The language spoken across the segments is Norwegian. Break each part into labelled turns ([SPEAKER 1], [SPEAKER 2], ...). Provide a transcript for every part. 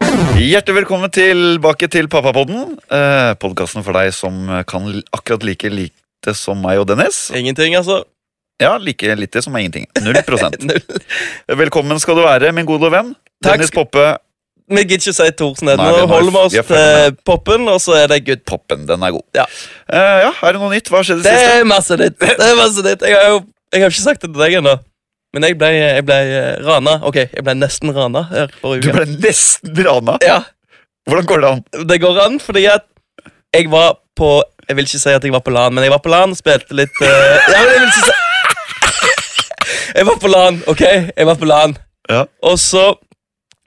[SPEAKER 1] Hjertelig velkommen tilbake til Pappapodden. Eh, Podkasten for deg som kan l- akkurat like lite som meg og Dennis.
[SPEAKER 2] Ingenting, altså.
[SPEAKER 1] Ja, like lite som er ingenting. Null prosent.
[SPEAKER 2] Null.
[SPEAKER 1] Velkommen skal du være, min gode venn.
[SPEAKER 2] Takk
[SPEAKER 1] Dennis
[SPEAKER 2] skal-
[SPEAKER 1] Poppe.
[SPEAKER 2] Vi gidder ikke si Thorsen.
[SPEAKER 1] Nei,
[SPEAKER 2] Nå
[SPEAKER 1] vi-
[SPEAKER 2] holder vi oss
[SPEAKER 1] vi er
[SPEAKER 2] til poppen, og så er det good.
[SPEAKER 1] Poppen, den er god.
[SPEAKER 2] Ja.
[SPEAKER 1] Eh, ja, Er det noe nytt? Hva har skjedd i det
[SPEAKER 2] Det
[SPEAKER 1] siste?
[SPEAKER 2] er masse ditt. Det er masse ditt. Jeg har jo jeg har ikke sagt det til deg ennå. Men jeg ble, jeg ble eh, rana. Ok, jeg ble nesten rana her
[SPEAKER 1] Du
[SPEAKER 2] forrige uke.
[SPEAKER 1] ble nesten rana.
[SPEAKER 2] Ja,
[SPEAKER 1] Hvordan går det an?
[SPEAKER 2] det går an, fordi at jeg var på Jeg vil ikke si at jeg var på LAN, men jeg var på LAN og spilte litt eh, Ja, men jeg vil ikke si Jeg var på LAN, ok? Jeg var på LAN.
[SPEAKER 1] Ja.
[SPEAKER 2] Og så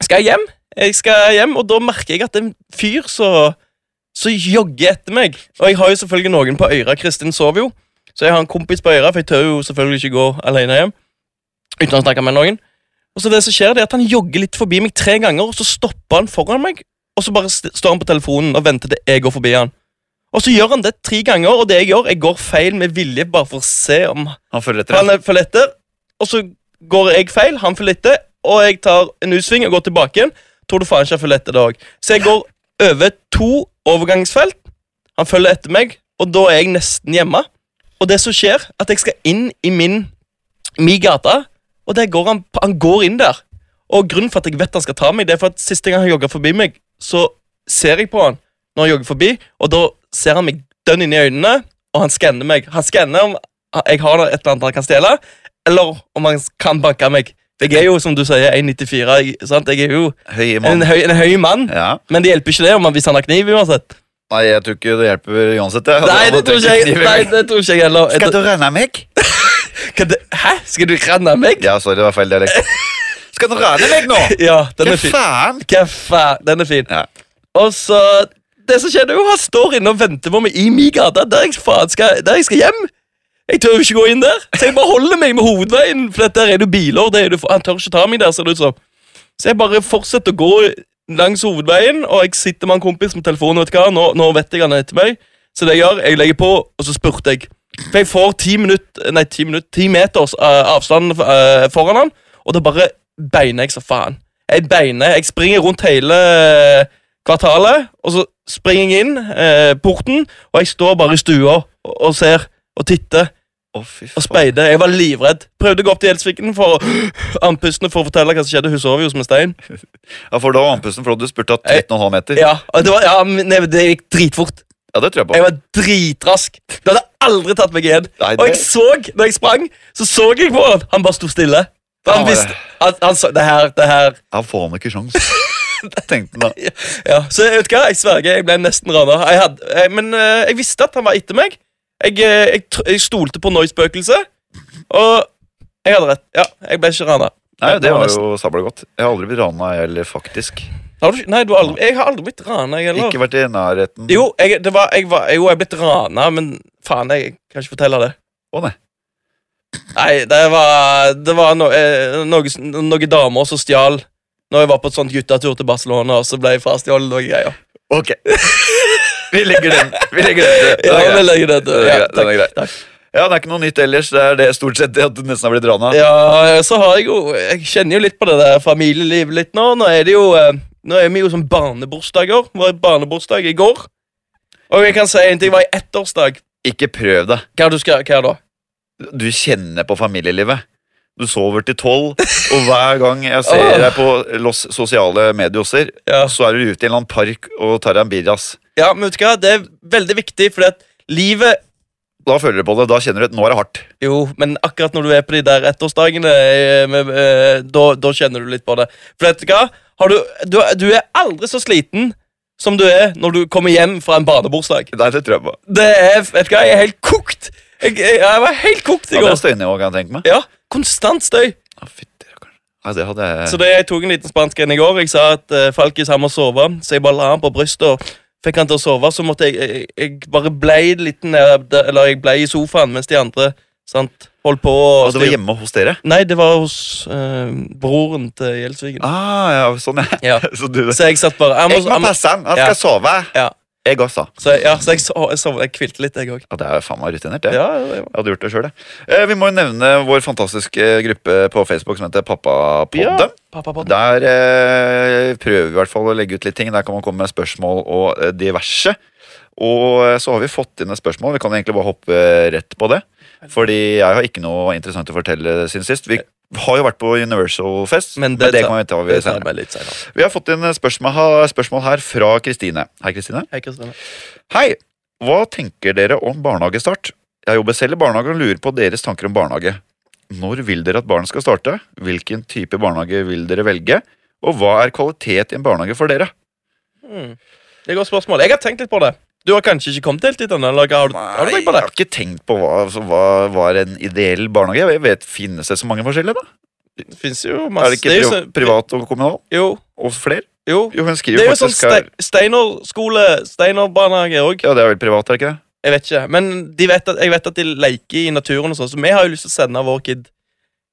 [SPEAKER 2] skal jeg hjem, Jeg skal hjem, og da merker jeg at det er en fyr så, så jogger etter meg. Og jeg har jo selvfølgelig noen på øra. Kristin sover jo, så jeg har en kompis på øra, for jeg tør jo selvfølgelig ikke gå alene hjem. Uten å snakke med noen. Og så det som skjer, det er at han jogger litt forbi meg tre ganger, og så stopper han foran meg. Og så bare st står han på telefonen og venter til jeg går forbi han. Og så gjør han det tre ganger, og det jeg gjør, jeg går feil med vilje bare for å se om
[SPEAKER 1] Han følger etter deg.
[SPEAKER 2] han er- følger etter, og så går jeg feil, han følger etter, og jeg tar en U-sving og går tilbake igjen. Tror du faen ikke han følger etter det òg. Så jeg går over to overgangsfelt. Han følger etter meg, og da er jeg nesten hjemme. Og det som skjer, at jeg skal inn i min, min gate, og der går han, han går inn der. Og grunnen for at jeg vet han skal ta meg, det er for at siste gang han jogga forbi meg, så ser jeg på han når han jogger forbi, og da ser han meg dønn inn i øynene, og han skanner meg. Han skanner om Ah, jeg har et eller annet han kan stjele, eller om han kan banke meg. Jeg er jo, som du sier, 1,94. jeg- sant? Jeg er jo
[SPEAKER 1] Høy
[SPEAKER 2] en
[SPEAKER 1] mann.
[SPEAKER 2] høy, en høy mann,
[SPEAKER 1] Ja.
[SPEAKER 2] men det hjelper ikke det om han, hvis han har kniv uansett.
[SPEAKER 1] Nei, jeg tror ikke det hjelper uansett. jeg.
[SPEAKER 2] Nei, det
[SPEAKER 1] Hadde
[SPEAKER 2] tror ikke
[SPEAKER 1] tenkt
[SPEAKER 2] jeg,
[SPEAKER 1] kniv i
[SPEAKER 2] nei,
[SPEAKER 1] veggen.
[SPEAKER 2] det tror ikke jeg heller.
[SPEAKER 1] Skal du renne meg?
[SPEAKER 2] Hva det- Hæ? Skal du renne meg?
[SPEAKER 1] Ja, sorry, det var feil dialekt. Skal du renne meg nå?
[SPEAKER 2] Ja, den er
[SPEAKER 1] Hva
[SPEAKER 2] fin.
[SPEAKER 1] faen?
[SPEAKER 2] Hva faen? Den er fin.
[SPEAKER 1] Ja.
[SPEAKER 2] Og så Det som skjedde jo, han står inne og venter på meg i min gate, der jeg faen skal, der jeg skal hjem. Jeg tør jo ikke gå inn der, så jeg bare holder meg med hovedveien. For der er det jo biler, det er det, han tør ikke ta meg der, ser det ut som. Så jeg bare fortsetter å gå langs hovedveien, og jeg sitter med en kompis med telefonen. vet du hva, nå, nå vet jeg han er etter meg. Så det jeg gjør, jeg legger på, og så spurte jeg. For jeg får ti minutt, nei, ti minutt, ti meters eh, avstand eh, foran han, og da bare beiner jeg så faen. Jeg beiner, jeg springer rundt hele kvartalet, og så springer jeg inn eh, porten, og jeg står bare i stua og, og ser og titter
[SPEAKER 1] Å, fy
[SPEAKER 2] og
[SPEAKER 1] faen.
[SPEAKER 2] speider. Jeg var livredd. Prøvde å gå opp til Gjelsviken for å andpustne for å fortelle hva som skjedde. Hun sov jo som en stein.
[SPEAKER 1] Ja, for da var andpusten, for du spurte at 13,5 meter. Ja.
[SPEAKER 2] Ja, og det, var, ja, men det- det gikk dritfort.
[SPEAKER 1] det tror jeg på.
[SPEAKER 2] Jeg var dritrask. Det hadde aldri tatt meg igjen.
[SPEAKER 1] Nei,
[SPEAKER 2] Og
[SPEAKER 1] det,
[SPEAKER 2] jeg så, når jeg sprang, så så jeg på han. Han bare sto stille. For
[SPEAKER 1] Ja,
[SPEAKER 2] han
[SPEAKER 1] det-
[SPEAKER 2] visste han, han så, Det her, det her
[SPEAKER 1] jeg får han ikke sjans. Tenkte han da.
[SPEAKER 2] Ja, så jeg vet hva, jeg sverger, jeg ble nesten rana. Jeg hadde, jeg, men eh, jeg visste at han var etter meg. Jeg, eh, jeg, tr- jeg stolte på Noi-spøkelset, og jeg hadde rett. Ja, jeg ble ikke rana.
[SPEAKER 1] Nei,
[SPEAKER 2] Ja,
[SPEAKER 1] det var
[SPEAKER 2] nesten.
[SPEAKER 1] jo sabla godt. Jeg har aldri blitt rana heller, faktisk.
[SPEAKER 2] Har du, ikke- nei, du har aldri, jeg har aldri blitt rana, jeg heller.
[SPEAKER 1] Ikke vært i nærheten.
[SPEAKER 2] Jo, jeg, det var, jeg var, jo, jeg er blitt rana, men faen, jeg kan ikke fortelle det.
[SPEAKER 1] Å, nei.
[SPEAKER 2] Nei, det var, det var no, eh, noe, s- noen damer som stjal når jeg var på et sånt guttetur til Barcelona, og så ble jeg frastjålet noen greier.
[SPEAKER 1] Ok. Vi legger den. Vi legger den. Det, det
[SPEAKER 2] Ja,
[SPEAKER 1] er
[SPEAKER 2] vi
[SPEAKER 1] greit.
[SPEAKER 2] legger det
[SPEAKER 1] Den
[SPEAKER 2] til.
[SPEAKER 1] er
[SPEAKER 2] Ja,
[SPEAKER 1] grei, den er
[SPEAKER 2] takk,
[SPEAKER 1] grei.
[SPEAKER 2] takk.
[SPEAKER 1] Ja, det er ikke noe nytt ellers. Det er det stort sett det at du nesten har blitt rana.
[SPEAKER 2] Ja, så har jeg jo Jeg kjenner jo litt på det der familielivet litt nå. Nå er det jo eh, Nå er vi jo som barnebursdager. Det Var barnebursdag i går. Og jeg kan si en ting. Det var i ettårsdag.
[SPEAKER 1] Ikke prøv det.
[SPEAKER 2] Hva du skal hva da?
[SPEAKER 1] Du kjenner på familielivet. Du sover til tolv, og hver gang jeg ser
[SPEAKER 2] Åh.
[SPEAKER 1] deg på Los sosiale medioser,
[SPEAKER 2] Ja.
[SPEAKER 1] så er du ute i en eller annen park og tar deg en birras.
[SPEAKER 2] ja, men vet du hva? Det er veldig viktig, fordi at livet
[SPEAKER 1] Da føler du på det. Da kjenner du at nå er det hardt.
[SPEAKER 2] Jo, men akkurat når du er på de der ettårsdagene, eh, med- eh, da, da kjenner du litt på det. For vet du hva? Har du, du, du er aldri så sliten som du er når du kommer hjem fra en barnebursdag.
[SPEAKER 1] Nei, det tror jeg på.
[SPEAKER 2] Det er, vet du hva, jeg er helt kokt. Jeg, jeg, jeg var helt kokt i
[SPEAKER 1] Ja, det
[SPEAKER 2] går.
[SPEAKER 1] er støynivå, kan jeg tenke meg.
[SPEAKER 2] Ja, konstant støy.
[SPEAKER 1] Å, fytti rakkeren. Nei, det hadde jeg
[SPEAKER 2] Så det, jeg tok en liten spansk en i går. Jeg sa at uh, Falkis han må sove, så jeg bare la han på brystet og fikk han til å sove. Så måtte jeg, jeg, jeg bare blei litt ned, eller jeg blei i sofaen mens de andre sant, holdt på. Og
[SPEAKER 1] Og Altså, det var hjemme hos dere?
[SPEAKER 2] Nei, det var hos eh, broren til Gjelsviken.
[SPEAKER 1] Ah, ja, sånn, ja.
[SPEAKER 2] Ja.
[SPEAKER 1] Så du
[SPEAKER 2] Så jeg satt bare jeg må,
[SPEAKER 1] Jeg må
[SPEAKER 2] jeg må,
[SPEAKER 1] passe han, han
[SPEAKER 2] Ja.
[SPEAKER 1] skal sove.
[SPEAKER 2] ja.
[SPEAKER 1] Jeg gassa.
[SPEAKER 2] Så, jeg- ja, så jeg, so- jeg, sov- jeg kvilte litt, jeg òg.
[SPEAKER 1] Ja, det er jo faen meg rutinert, det.
[SPEAKER 2] Ja, det var-
[SPEAKER 1] Jeg hadde gjort det sjøl, jeg. Eh, vi må jo nevne vår fantastiske gruppe på Facebook som heter Pappapodden.
[SPEAKER 2] ja. Pappa, pappa.
[SPEAKER 1] Der eh, prøver vi i hvert fall å legge ut litt ting. Der kan man komme med spørsmål og eh, diverse. Og eh, så har vi fått inn et spørsmål. Vi kan egentlig bare hoppe rett på det. Fordi jeg har ikke noe interessant å fortelle siden sist. Vi har jo vært på Universal Fest,
[SPEAKER 2] Men
[SPEAKER 1] men
[SPEAKER 2] det
[SPEAKER 1] det,
[SPEAKER 2] tar-
[SPEAKER 1] kan vi ta
[SPEAKER 2] Det tar
[SPEAKER 1] senere.
[SPEAKER 2] meg litt senere.
[SPEAKER 1] Vi har fått inn spørsmål, ha- spørsmål her fra Kristine. Hei, Kristine.
[SPEAKER 2] Hei, Kristine.
[SPEAKER 1] Hei! Hva tenker dere om barnehagestart? Jeg jobber selv i barnehage og lurer på deres tanker om barnehage. Når vil dere at barnet skal starte? Hvilken type barnehage vil dere velge? Og hva er kvalitet i en barnehage for dere?
[SPEAKER 2] Hmm. Det er et godt spørsmål. Jeg har tenkt litt på det. Du har kanskje ikke kommet helt dit ennå? eller Har, du- har du tenkt
[SPEAKER 1] jeg
[SPEAKER 2] på det?
[SPEAKER 1] har ikke tenkt på hva, altså, hva var en ideell barnehage. Jeg vet, Finnes det så mange forskjellige, da?
[SPEAKER 2] Det finnes jo masse
[SPEAKER 1] er det ikke
[SPEAKER 2] jo
[SPEAKER 1] pri
[SPEAKER 2] så-
[SPEAKER 1] privat og kommunal?
[SPEAKER 2] Jo.
[SPEAKER 1] Og flere?
[SPEAKER 2] jo.
[SPEAKER 1] Jo, hun
[SPEAKER 2] Det
[SPEAKER 1] skriver
[SPEAKER 2] er jo sånn
[SPEAKER 1] faktisk
[SPEAKER 2] ste
[SPEAKER 1] her
[SPEAKER 2] Steinerskole, Steinerbarnehage òg.
[SPEAKER 1] Ja, det er vel privat, er det ikke det?
[SPEAKER 2] Jeg vet ikke, men de vet at, jeg vet at de leker i naturen og sånn, så vi har jo lyst til å sende vår kid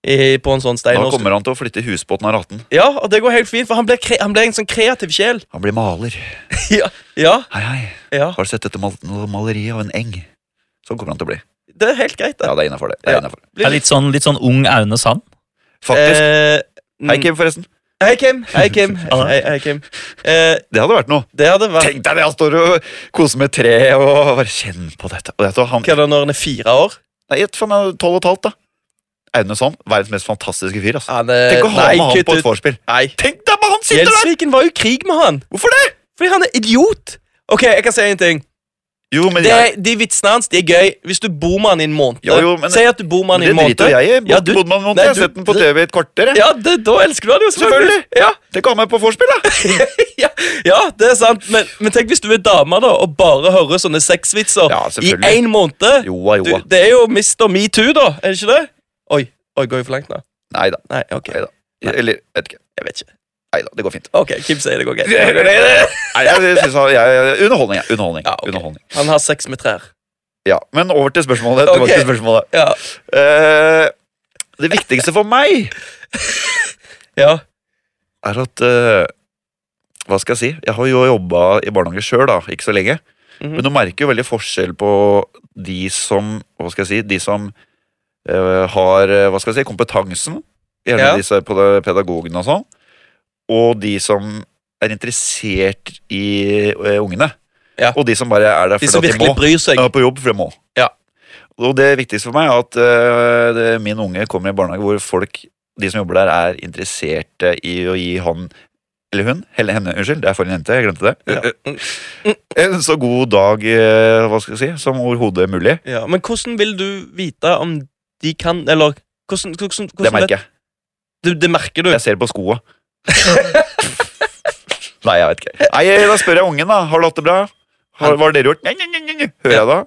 [SPEAKER 2] i, på en sånn
[SPEAKER 1] Nå
[SPEAKER 2] Steinerskole.
[SPEAKER 1] kommer han til å flytte husbåten av raten.
[SPEAKER 2] Ja, og det går helt fint, for han blir, kre han blir en sånn kreativ sjel.
[SPEAKER 1] Han blir maler.
[SPEAKER 2] ja, ja,
[SPEAKER 1] Hei, hei.
[SPEAKER 2] ja.
[SPEAKER 1] Har du sett dette mal maleriet av en eng? Sånn kommer han til å bli.
[SPEAKER 2] Det er helt greit, det.
[SPEAKER 1] Ja, det er innafor det. det, er
[SPEAKER 2] Ja.
[SPEAKER 1] innenfor det.
[SPEAKER 2] Blir
[SPEAKER 3] er litt sånn, litt sånn ung Aune Sand.
[SPEAKER 1] Faktisk.
[SPEAKER 2] Eh,
[SPEAKER 1] Hei, Kim, forresten.
[SPEAKER 2] Hei, Kim. Hei, Kim. Hei, hei, Kim. Eh,
[SPEAKER 1] Det hadde vært noe.
[SPEAKER 2] det hadde vært
[SPEAKER 1] Tenk deg det, han står og koser med tre og bare kjenn på dette. Og vet du, han,
[SPEAKER 2] Hva er det når han er fire år?
[SPEAKER 1] nei, Gjett for meg tolv og et halvt, da. Aune Sand, verdens mest fantastiske fyr. Altså.
[SPEAKER 2] Han er,
[SPEAKER 1] Tenk å ha
[SPEAKER 2] Eh, nei,
[SPEAKER 1] med han
[SPEAKER 2] kutt
[SPEAKER 1] på et
[SPEAKER 2] ut.
[SPEAKER 1] vorspiel.
[SPEAKER 2] Nei.
[SPEAKER 1] Tenk deg bare han sitter der!
[SPEAKER 2] Gjelsviken var jo i krig med han,
[SPEAKER 1] Hvorfor det?
[SPEAKER 2] fordi han er idiot. Ok, jeg kan si en ting.
[SPEAKER 1] Jo, men
[SPEAKER 2] Det,
[SPEAKER 1] jeg,
[SPEAKER 2] de vitsene hans de er gøy hvis du bor med han i en måned.
[SPEAKER 1] Jo, jo, men-
[SPEAKER 2] si at du bor med han i
[SPEAKER 1] det
[SPEAKER 2] en måned.
[SPEAKER 1] driter jo jeg i.
[SPEAKER 2] Ja,
[SPEAKER 1] Bod-
[SPEAKER 2] du-
[SPEAKER 1] Bodman Monty,
[SPEAKER 2] Nei,
[SPEAKER 1] Jeg har
[SPEAKER 2] du-
[SPEAKER 1] sett den på TV i et kvarter. jeg.
[SPEAKER 2] Ja, det, da elsker du han jo selvfølgelig. Ja,
[SPEAKER 1] Tenk å ha meg på vorspiel, da!
[SPEAKER 2] ja, ja, det er sant. Men, men tenk hvis du er dame da og bare hører sånne sexvitser
[SPEAKER 1] Ja,
[SPEAKER 2] i
[SPEAKER 1] selvfølgelig.
[SPEAKER 2] én måned.
[SPEAKER 1] Joa,
[SPEAKER 2] Du,
[SPEAKER 1] joa.
[SPEAKER 2] det er jo Mr. Metoo, da. Er det ikke det? Oi, oi, går jeg for langt nå?
[SPEAKER 1] Nei da.
[SPEAKER 2] Nei, ok,
[SPEAKER 1] Nei da. Eller, vet ikke.
[SPEAKER 2] jeg vet ikke.
[SPEAKER 1] Nei da, det går fint.
[SPEAKER 2] Ok, Kim sier det går greit.
[SPEAKER 1] Nei, jeg, synes han- jeg, jeg, underholdning, jeg. Underholdning.
[SPEAKER 2] Ja, ok.
[SPEAKER 1] underholdning.
[SPEAKER 2] Han har sex med trær.
[SPEAKER 1] Ja, Men over til spørsmålet.
[SPEAKER 2] Ok.
[SPEAKER 1] Tilbake til spørsmålet.
[SPEAKER 2] Ja,
[SPEAKER 1] Eh, det viktigste for meg
[SPEAKER 2] ja,
[SPEAKER 1] er at eh, Hva skal jeg si? Jeg har jo jobba i barnehage sjøl, da, ikke så lenge.
[SPEAKER 2] Mhm.
[SPEAKER 1] Men du merker jo veldig forskjell på de som Hva skal jeg si? De som eh, har eh, hva skal jeg si, kompetansen, gjerne
[SPEAKER 2] Ja.
[SPEAKER 1] disse på det- pedagogene og sånn, og de som er interessert i eh, ungene.
[SPEAKER 2] Ja.
[SPEAKER 1] Og de som bare er der
[SPEAKER 2] De som
[SPEAKER 1] fordi at de
[SPEAKER 2] virkelig
[SPEAKER 1] må.
[SPEAKER 2] bryr seg.
[SPEAKER 1] Ja, på jobb, for jeg må.
[SPEAKER 2] Ja.
[SPEAKER 1] Og det viktigste for meg er at øh, det, min unge kommer i en barnehage hvor folk, de som jobber der, er interesserte i å gi han eller hun, eller henne, unnskyld, det er for en jente, jeg glemte det.
[SPEAKER 2] Ja.
[SPEAKER 1] En så god dag, øh, hva skal jeg si, som overhodet mulig.
[SPEAKER 2] Ja, men hvordan vil du vite om de kan Eller hvordan, hvordan, hvordan
[SPEAKER 1] Det merker jeg.
[SPEAKER 2] vet- Du, det merker du.
[SPEAKER 1] Jeg ser på skoa. Nei, jeg vet ikke. Nei, Da spør jeg ungen, da. Har du hatt det bra? Har, hva har dere gjort? Nei, nei, nei, nei, nei. Hører jeg da?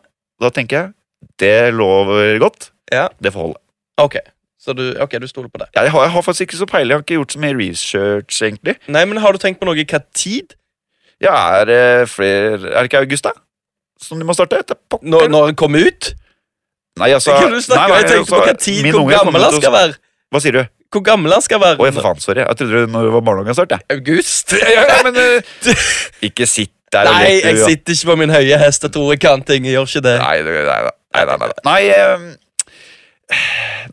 [SPEAKER 1] Da tenker jeg, det lover godt.
[SPEAKER 2] Ja.
[SPEAKER 1] Det får holde.
[SPEAKER 2] Ok, så du, ok, du stoler på det.
[SPEAKER 1] Jeg har, jeg har faktisk ikke så peiling. Jeg har ikke gjort så mye research, egentlig.
[SPEAKER 2] Nei, men Har du tenkt på noe hva tid?
[SPEAKER 1] Jeg er eh, flere Er det ikke august, da? Som du må starte? Etter pokker.
[SPEAKER 2] Når, når den kommer ut?
[SPEAKER 1] Nei, altså
[SPEAKER 2] Kan du
[SPEAKER 1] nei,
[SPEAKER 2] snakke,
[SPEAKER 1] nei,
[SPEAKER 2] jeg tenkte på
[SPEAKER 1] altså,
[SPEAKER 2] hva tid,
[SPEAKER 1] min
[SPEAKER 2] hvor
[SPEAKER 1] unge kommer
[SPEAKER 2] gammel han
[SPEAKER 1] til å-
[SPEAKER 2] skal være.
[SPEAKER 1] Hva sier du?
[SPEAKER 2] Hvor gammel han skal være.
[SPEAKER 1] Å, ja, for faen, sorry. Jeg trodde det når det var barnehagestart, jeg.
[SPEAKER 2] August?
[SPEAKER 1] Ja, men eh, Ikke sitt der og
[SPEAKER 2] Nei,
[SPEAKER 1] lek, du,
[SPEAKER 2] jeg
[SPEAKER 1] ja.
[SPEAKER 2] sitter ikke på min høye hest og tror jeg kan ting. Jeg gjør ikke det.
[SPEAKER 1] Nei, det- nei, nei, nei, nei, nei. Nei, eh,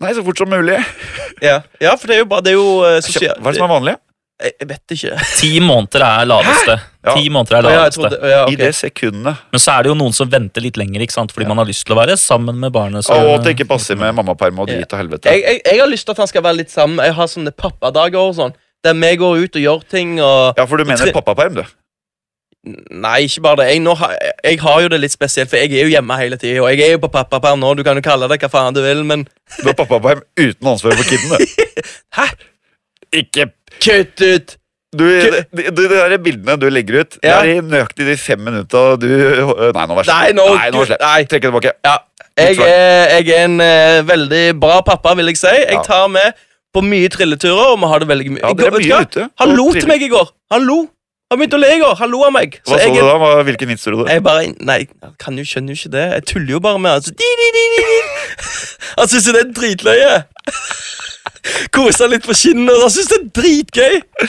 [SPEAKER 1] nei, så fort som mulig.
[SPEAKER 2] Ja, ja for det er jo bare det er jo eh, sosial...
[SPEAKER 1] Hva er det som er vanlig?
[SPEAKER 2] Jeg, jeg vet ikke.
[SPEAKER 3] Ti måneder er laveste.
[SPEAKER 1] Ja.
[SPEAKER 3] Ti måneder er
[SPEAKER 2] Å, ja, jeg
[SPEAKER 3] laveste.
[SPEAKER 2] trodde, å, ja, ok.
[SPEAKER 1] I det sekundet.
[SPEAKER 3] Men så er det jo noen som venter litt lenger ikke sant? fordi man har lyst til å være sammen med barnet. Så...
[SPEAKER 1] Å, at det ikke passer med mammaperm og drit og helvete.
[SPEAKER 2] jeg, jeg, jeg har lyst til at han skal være litt sammen. Jeg har sånne pappadager og sånn. Der vi går ut og gjør ting og
[SPEAKER 1] Ja, for du mener
[SPEAKER 2] Tre-
[SPEAKER 1] pappaperm, du.
[SPEAKER 2] Nei, ikke bare det. Jeg, nå, har- jeg, jeg har jo det litt spesielt, for jeg er jo hjemme hele tida. Og jeg er jo på pappaperm nå, du kan jo kalle det hva faen du vil, men
[SPEAKER 1] Du har pappaperm uten ansvar for kiden, du.
[SPEAKER 2] Hæ?
[SPEAKER 1] Ikke
[SPEAKER 2] Kutt ut!
[SPEAKER 1] Du, de, de, de der bildene du legger ut,
[SPEAKER 2] Ja.
[SPEAKER 1] det er i nøyaktig de fem minutta du Nei, nå vær så
[SPEAKER 2] Nei, nå,
[SPEAKER 1] Nei, nå slett.
[SPEAKER 2] nei.
[SPEAKER 1] Trekker tilbake.
[SPEAKER 2] Ja, jeg er, jeg er en eh, veldig bra pappa, vil jeg si. Jeg
[SPEAKER 1] Ja.
[SPEAKER 2] tar med på mye trilleturer, og vi har det veldig mye.
[SPEAKER 1] Ja,
[SPEAKER 2] Jeg-
[SPEAKER 1] dere er
[SPEAKER 2] vet du
[SPEAKER 1] mye
[SPEAKER 2] hva?
[SPEAKER 1] ute
[SPEAKER 2] Han
[SPEAKER 1] og
[SPEAKER 2] lo
[SPEAKER 1] triller.
[SPEAKER 2] til meg i går. Han lo. Han begynte å le i går. Han lo av meg.
[SPEAKER 1] Hva så
[SPEAKER 2] jeg,
[SPEAKER 1] du da? Hva- Hvilken vits trodde du?
[SPEAKER 2] jeg bare Nei, jeg kan jo skjønner jo ikke det. Jeg tuller jo bare med han. Så, di, di, di, di, di. Han syns jo det er dritløye. Koser litt på kinnet. og Han syns det er dritgøy.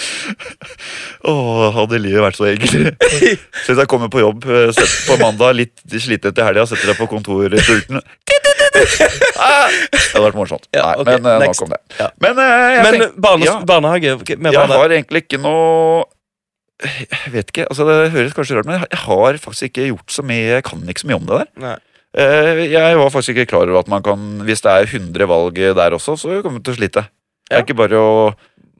[SPEAKER 1] Åh, hadde livet vært så enkelt. Så hvis jeg kommer på jobb eh, sett på mandag, litt sliten etter helga, setter deg på kontorpulten ah, Det hadde vært morsomt. Nei,
[SPEAKER 2] Ja, ok,
[SPEAKER 1] men eh,
[SPEAKER 2] next.
[SPEAKER 1] nå kom det.
[SPEAKER 2] Ja.
[SPEAKER 1] Men eh, jeg
[SPEAKER 2] Men
[SPEAKER 1] tenkte-
[SPEAKER 2] barnes,
[SPEAKER 1] ja.
[SPEAKER 2] barnehage ok, med
[SPEAKER 1] jeg
[SPEAKER 2] barne.
[SPEAKER 1] har egentlig ikke noe Jeg vet ikke, altså det høres kanskje rart ut, men jeg har faktisk ikke gjort så mye Jeg kan ikke så mye om det der.
[SPEAKER 2] Nei.
[SPEAKER 1] Eh, Jeg var faktisk ikke klar over at man kan Hvis det er 100 valg der også, så kommer du til å slite. Det
[SPEAKER 2] Ja.
[SPEAKER 1] er ikke bare å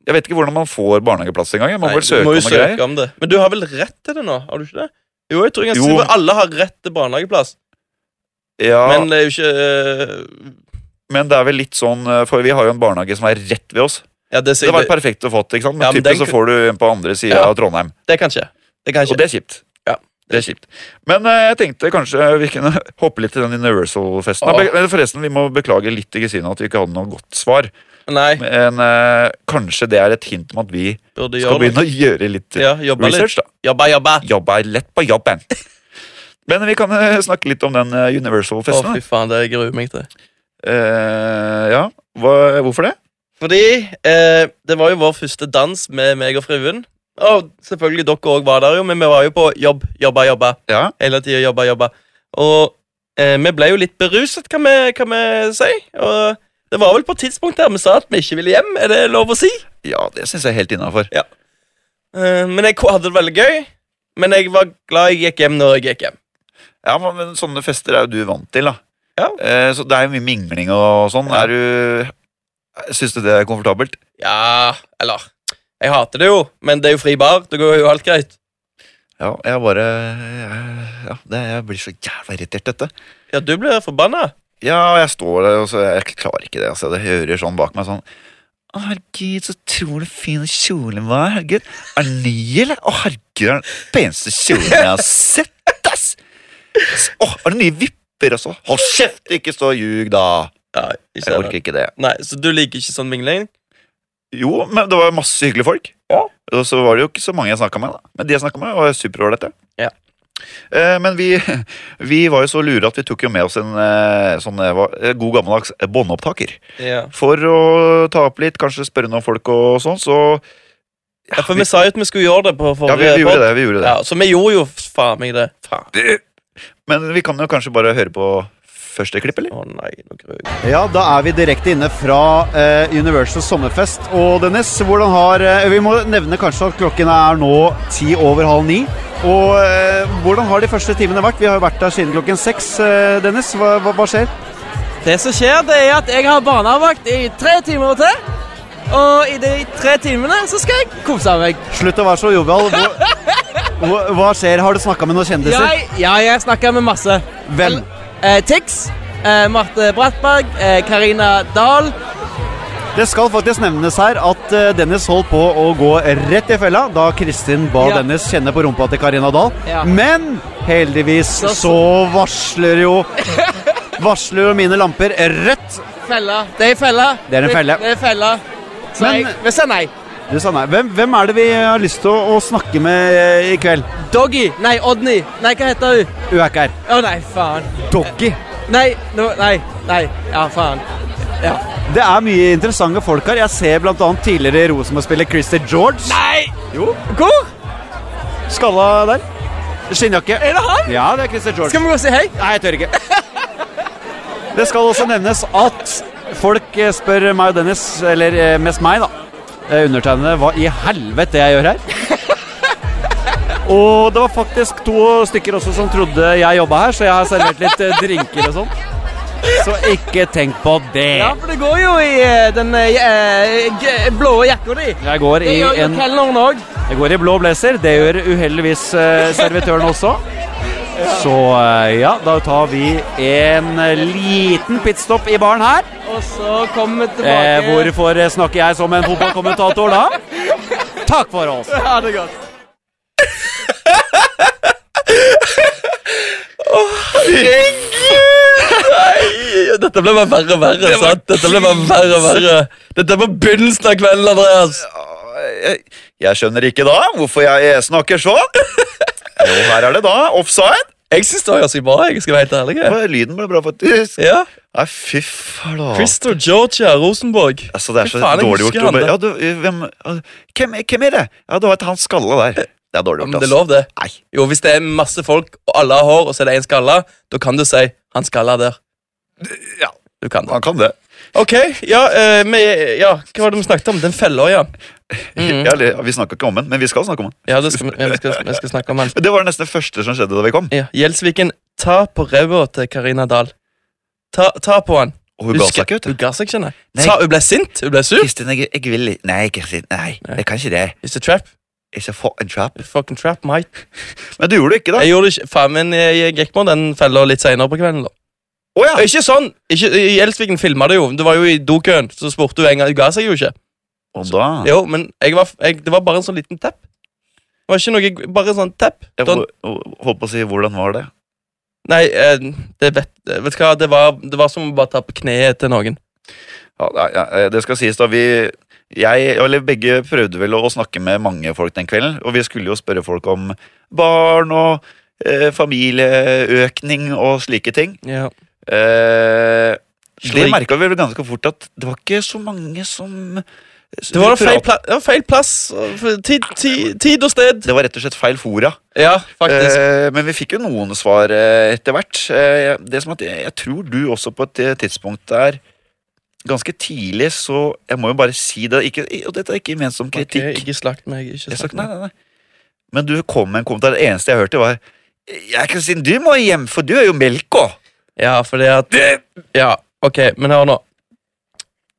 [SPEAKER 1] Jeg vet ikke hvordan man får barnehageplass engang. Jeg må
[SPEAKER 2] Nei,
[SPEAKER 1] vel
[SPEAKER 2] du
[SPEAKER 1] søke
[SPEAKER 2] må
[SPEAKER 1] om
[SPEAKER 2] jo
[SPEAKER 1] noe greier.
[SPEAKER 2] søke om det. Men du har vel rett til det nå? Har du ikke det? Jo, jeg tror jeg
[SPEAKER 1] Jo.
[SPEAKER 2] tror alle har rett til barnehageplass,
[SPEAKER 1] Ja,
[SPEAKER 2] men
[SPEAKER 1] men,
[SPEAKER 2] det er jo ikke øh,
[SPEAKER 1] det er vel litt sånn eh, For vi har jo en barnehage som er rett ved oss.
[SPEAKER 2] Ja, det,
[SPEAKER 1] Det
[SPEAKER 2] sier-
[SPEAKER 1] var perfekt å få, ikke sant? Men
[SPEAKER 2] Ja, men
[SPEAKER 1] typisk
[SPEAKER 2] den
[SPEAKER 1] så får du en på andre sida
[SPEAKER 2] Ja.
[SPEAKER 1] av Trondheim.
[SPEAKER 2] det, det kan skje. Det kan
[SPEAKER 1] Og
[SPEAKER 2] skje.
[SPEAKER 1] det er kjipt.
[SPEAKER 2] Ja,
[SPEAKER 1] Det er kjipt. Men eh, jeg tenkte kanskje vi kunne hoppe litt til den Universal-festen.
[SPEAKER 2] Åh.
[SPEAKER 1] Nei, be- Forresten, vi må beklage litt til Kristine at vi ikke hadde noe godt svar.
[SPEAKER 2] Nei,
[SPEAKER 1] Men eh, kanskje det er et hint om at vi skal
[SPEAKER 2] burde gjøre det.
[SPEAKER 1] begynne å gjøre litt
[SPEAKER 2] Ja, jobbe litt.
[SPEAKER 1] research, da.
[SPEAKER 2] Jobbe, jobbe.
[SPEAKER 1] Jobba lett på jobben. Men vi kan eh, snakke litt om den eh,
[SPEAKER 2] Å,
[SPEAKER 1] Universal-festen.
[SPEAKER 2] fy faen, det gruer jeg meg til.
[SPEAKER 1] da. Eh, ja, Hva, hvorfor det?
[SPEAKER 2] Fordi eh, det var jo vår første dans med meg og fruen. Og selvfølgelig dere òg var der, jo, men vi var jo på jobb, jobba, jobba.
[SPEAKER 1] Ja.
[SPEAKER 2] Hele tida jobba, jobba. Og eh, vi ble jo litt beruset, kan vi, kan vi si. Og det var vel på et tidspunkt der vi sa at vi ikke ville hjem. Er det lov å si?
[SPEAKER 1] Ja, det syns jeg er helt innafor.
[SPEAKER 2] Eh, men jeg ko- hadde det veldig gøy. Men jeg var glad jeg gikk hjem når jeg gikk hjem.
[SPEAKER 1] Ja, men- men sånne fester er jo du vant til, da.
[SPEAKER 2] Ja.
[SPEAKER 1] Eh, så det er jo mye mingling og sånn.
[SPEAKER 2] Ja.
[SPEAKER 1] Er du Syns du det er komfortabelt?
[SPEAKER 2] Ja, eller Jeg hater det jo, men det er jo fri bar. Det går jo alt greit.
[SPEAKER 1] Ja, jeg bare Ja, det, jeg blir så jævla irritert, dette.
[SPEAKER 2] Ja, du blir forbanna.
[SPEAKER 1] Ja, jeg står der, og så jeg klarer ikke det. Altså. Det hører sånn bak meg sånn Å, herregud, så utrolig fin kjolen var. Herregud. Er den ny, eller? Å, herregud, er den peneste kjolen jeg har sett, ass! Å, er det nye vipper også? Hold kjeft, ikke stå og ljug, da!
[SPEAKER 2] Ja, ikke
[SPEAKER 1] Jeg
[SPEAKER 2] sant?
[SPEAKER 1] orker ikke det.
[SPEAKER 2] Nei, Så du liker ikke sånn mingling?
[SPEAKER 1] Jo, men det var jo masse hyggelige folk.
[SPEAKER 2] Ja.
[SPEAKER 1] Og så var det jo ikke så mange jeg snakka med. da Men de jeg snakka med, var superålreite.
[SPEAKER 2] Ja.
[SPEAKER 1] Eh, men vi, vi var jo så lure at vi tok jo med oss en eh, sånn eh, hva- eh, god gammeldags eh, båndopptaker.
[SPEAKER 2] Ja.
[SPEAKER 1] For å ta opp litt, kanskje spørre noen folk og sånn, så
[SPEAKER 2] Ja, for vi sa jo at vi skulle gjøre det på
[SPEAKER 1] Ja, vi,
[SPEAKER 2] forrige
[SPEAKER 1] vi
[SPEAKER 2] podd.
[SPEAKER 1] gjorde det. vi gjorde det
[SPEAKER 2] Ja, Så vi gjorde jo faen meg det. Faen.
[SPEAKER 1] Men vi kan jo kanskje bare høre på første klipp, eller?
[SPEAKER 2] Å nei, nå gruer jeg meg.
[SPEAKER 4] Ja, da er vi direkte inne fra eh, Universal Sommerfest. Og Dennis, hvordan har eh, Vi må nevne kanskje at klokken er nå ti over halv ni. Og eh, hvordan har de første timene vært? Vi har jo vært der siden klokken seks. Eh, Dennis, hva, hva, hva skjer?
[SPEAKER 5] Det som skjer, det er at jeg har barnevakt i tre timer til. Og i de tre timene så skal jeg kose meg.
[SPEAKER 4] Slutt å være så jovial. Hva, hva, hva skjer? Har du snakka med noen kjendiser?
[SPEAKER 5] Jeg, ja, jeg snakker med masse.
[SPEAKER 4] Hvem?
[SPEAKER 5] Eh, Tix, eh, Marte Brattberg, eh, Karina Dahl.
[SPEAKER 4] Det skal faktisk nevnes her at eh, Dennis holdt på å gå rett i fella da Kristin ba
[SPEAKER 5] Ja.
[SPEAKER 4] Dennis kjenne på rumpa til Karina Dahl.
[SPEAKER 5] Ja.
[SPEAKER 4] Men heldigvis så,
[SPEAKER 5] Så-
[SPEAKER 4] varsler jo Varsler jo mine lamper rødt.
[SPEAKER 5] Fella. Det er fella.
[SPEAKER 4] Det er en felle.
[SPEAKER 5] Det, det er fella. Så
[SPEAKER 4] Men-
[SPEAKER 5] jeg vil si nei.
[SPEAKER 4] Du sa nei. Hvem, hvem er det vi har lyst til å, å snakke med eh, i kveld?
[SPEAKER 5] Doggy. Nei, Odny. Nei, hva heter hun?
[SPEAKER 4] Hun er ikke her.
[SPEAKER 5] Å nei, faen.
[SPEAKER 4] Doggy.
[SPEAKER 5] Nei, nå, nei, nei. Ja, faen. Ja.
[SPEAKER 4] Det er mye interessante folk her. Jeg ser bl.a. tidligere Rosenborg-spiller Christer George.
[SPEAKER 5] Nei!
[SPEAKER 4] Jo,
[SPEAKER 5] Hvor?
[SPEAKER 4] Skalla der. Skinnjakke.
[SPEAKER 5] Er det han?
[SPEAKER 4] Ja, det er Christer George.
[SPEAKER 5] Skal vi gå og si hei?
[SPEAKER 4] Nei, jeg tør ikke. Det skal også nevnes at folk eh, spør meg og Dennis, eller eh, mest meg, da, eh, undertegnede, hva i helvete jeg gjør her. Og det var faktisk to stykker også som trodde jeg jobba her, så jeg har servert litt eh, drinker og sånn. Så ikke tenk på det.
[SPEAKER 5] Ja, for det går jo i eh, den eh, g- blå jakka di.
[SPEAKER 4] Jeg går
[SPEAKER 5] Det
[SPEAKER 4] i
[SPEAKER 5] gjør jo
[SPEAKER 4] en
[SPEAKER 5] kelneren òg.
[SPEAKER 4] Jeg går i blå blazer. Det gjør uheldigvis eh, servitøren også. Så eh, ja, da tar vi en eh, liten pitstop i baren her.
[SPEAKER 5] Og så kommer vi tilbake.
[SPEAKER 4] Eh, hvorfor eh, snakker jeg som en fotballkommentator da? Takk for oss.
[SPEAKER 5] Ha det godt.
[SPEAKER 2] Nei, Dette ble bare verre og verre. sant? Dette ble bare verre og verre. Dette er på begynnelsen av kvelden, Andreas.
[SPEAKER 1] Jeg, jeg skjønner ikke da hvorfor jeg snakker sånn. Jo, her er det da offside.
[SPEAKER 2] Jeg syns det var ganske bra. jeg skal være helt ærlig.
[SPEAKER 1] Og Lyden ble bra, faktisk.
[SPEAKER 2] Ja,
[SPEAKER 1] Nei, fy flate.
[SPEAKER 2] Christer Georgia Rosenborg.
[SPEAKER 1] Altså, det er
[SPEAKER 2] Fy
[SPEAKER 1] så
[SPEAKER 2] faen, jeg
[SPEAKER 1] dårlig gjort. å
[SPEAKER 2] husker han
[SPEAKER 1] bare-
[SPEAKER 2] der.
[SPEAKER 1] Ja, du, eh, hvem, hvem, hvem er det? Ja, det var et han skalla der. Det er dårlig
[SPEAKER 2] Ja,
[SPEAKER 1] gjort,
[SPEAKER 2] Eh, men det er
[SPEAKER 1] altså.
[SPEAKER 2] lov, det.
[SPEAKER 1] Nei.
[SPEAKER 2] Jo, Hvis det er masse folk, og alle har hår, og så er det én skalla, da kan du si 'han skalla der'.
[SPEAKER 1] Ja.
[SPEAKER 2] Du kan det.
[SPEAKER 1] Han kan det.
[SPEAKER 2] Ok, ja, eh, vi- ja, hva var det vi snakket om? Den fella, ja. Mhm.
[SPEAKER 1] Ja, eller, vi snakka ikke om den, men vi skal snakke om den.
[SPEAKER 2] Ja, det skal, vi- ja, vi skal, vi skal snakke om han.
[SPEAKER 1] Men Det var det nesten det første som skjedde da vi kom.
[SPEAKER 2] Ja, Gjelsviken, ta på ræva til Karina Dahl. Ta, ta på han.
[SPEAKER 1] Og hun ga seg ikke, vet
[SPEAKER 2] Hun
[SPEAKER 1] du.
[SPEAKER 2] ga seg ikke, nei.
[SPEAKER 1] Nei.
[SPEAKER 2] Ta, hun ble sint, hun ble sur.
[SPEAKER 1] Kristin, jeg, jeg vil ikke Nei, Kristin, nei, jeg kan ikke det.
[SPEAKER 2] It's a trap.
[SPEAKER 1] It's a fucking trap.
[SPEAKER 2] It's fucking trap, mate.
[SPEAKER 1] Men du gjorde det ikke, da.
[SPEAKER 2] Jeg gjorde det ikke, faen, men jeg, jeg gikk med den fella litt senere på kvelden, da.
[SPEAKER 1] Å ja!
[SPEAKER 2] Ikke sånn, ikke, Gjelsviken filmet det jo, det var jo i dokøen, så spurte hun en gang, hun ga seg jo ikke.
[SPEAKER 1] Og da
[SPEAKER 2] Jo, men jeg var, jeg, det var bare en sånn liten tepp. Det var ikke noe, bare en sånn tepp.
[SPEAKER 1] Jeg
[SPEAKER 2] Da-
[SPEAKER 1] hol- holdt på å si hvordan var det?
[SPEAKER 2] Nei, eh, det vet, vet du hva, det var, det var som å bare ta på kneet til noen.
[SPEAKER 1] Ja, nei, ja, eh, det skal sies, da. Vi jeg, eller begge prøvde vel å å snakke med mange folk den kvelden. Og vi skulle jo spørre folk om barn og eh, familieøkning og slike ting.
[SPEAKER 2] Ja.
[SPEAKER 1] Eh, det
[SPEAKER 2] Slik.
[SPEAKER 1] merka vi vel ganske fort at det var ikke så mange som
[SPEAKER 2] Det var feil, pla det var feil plass, og f- tid, tid, tid og sted.
[SPEAKER 1] Det var rett og slett feil fora.
[SPEAKER 2] Ja, faktisk.
[SPEAKER 1] Eh, men vi fikk jo noen svar eh, etter hvert. Eh, det som at jeg, jeg tror du også på et eh, tidspunkt der Ganske tidlig, så jeg må jo bare si det ikke, Og dette er ikke ment som kritikk.
[SPEAKER 2] Ok, ikke slakt meg, ikke
[SPEAKER 1] jeg sa
[SPEAKER 2] slakt
[SPEAKER 1] ikke nei,
[SPEAKER 2] meg.
[SPEAKER 1] nei, nei. Men du kom med en kommentar. Det eneste jeg hørte, var Jeg kan si, du må hjem, for du er jo melka.
[SPEAKER 2] Ja, fordi at, ja, ok, men hør nå.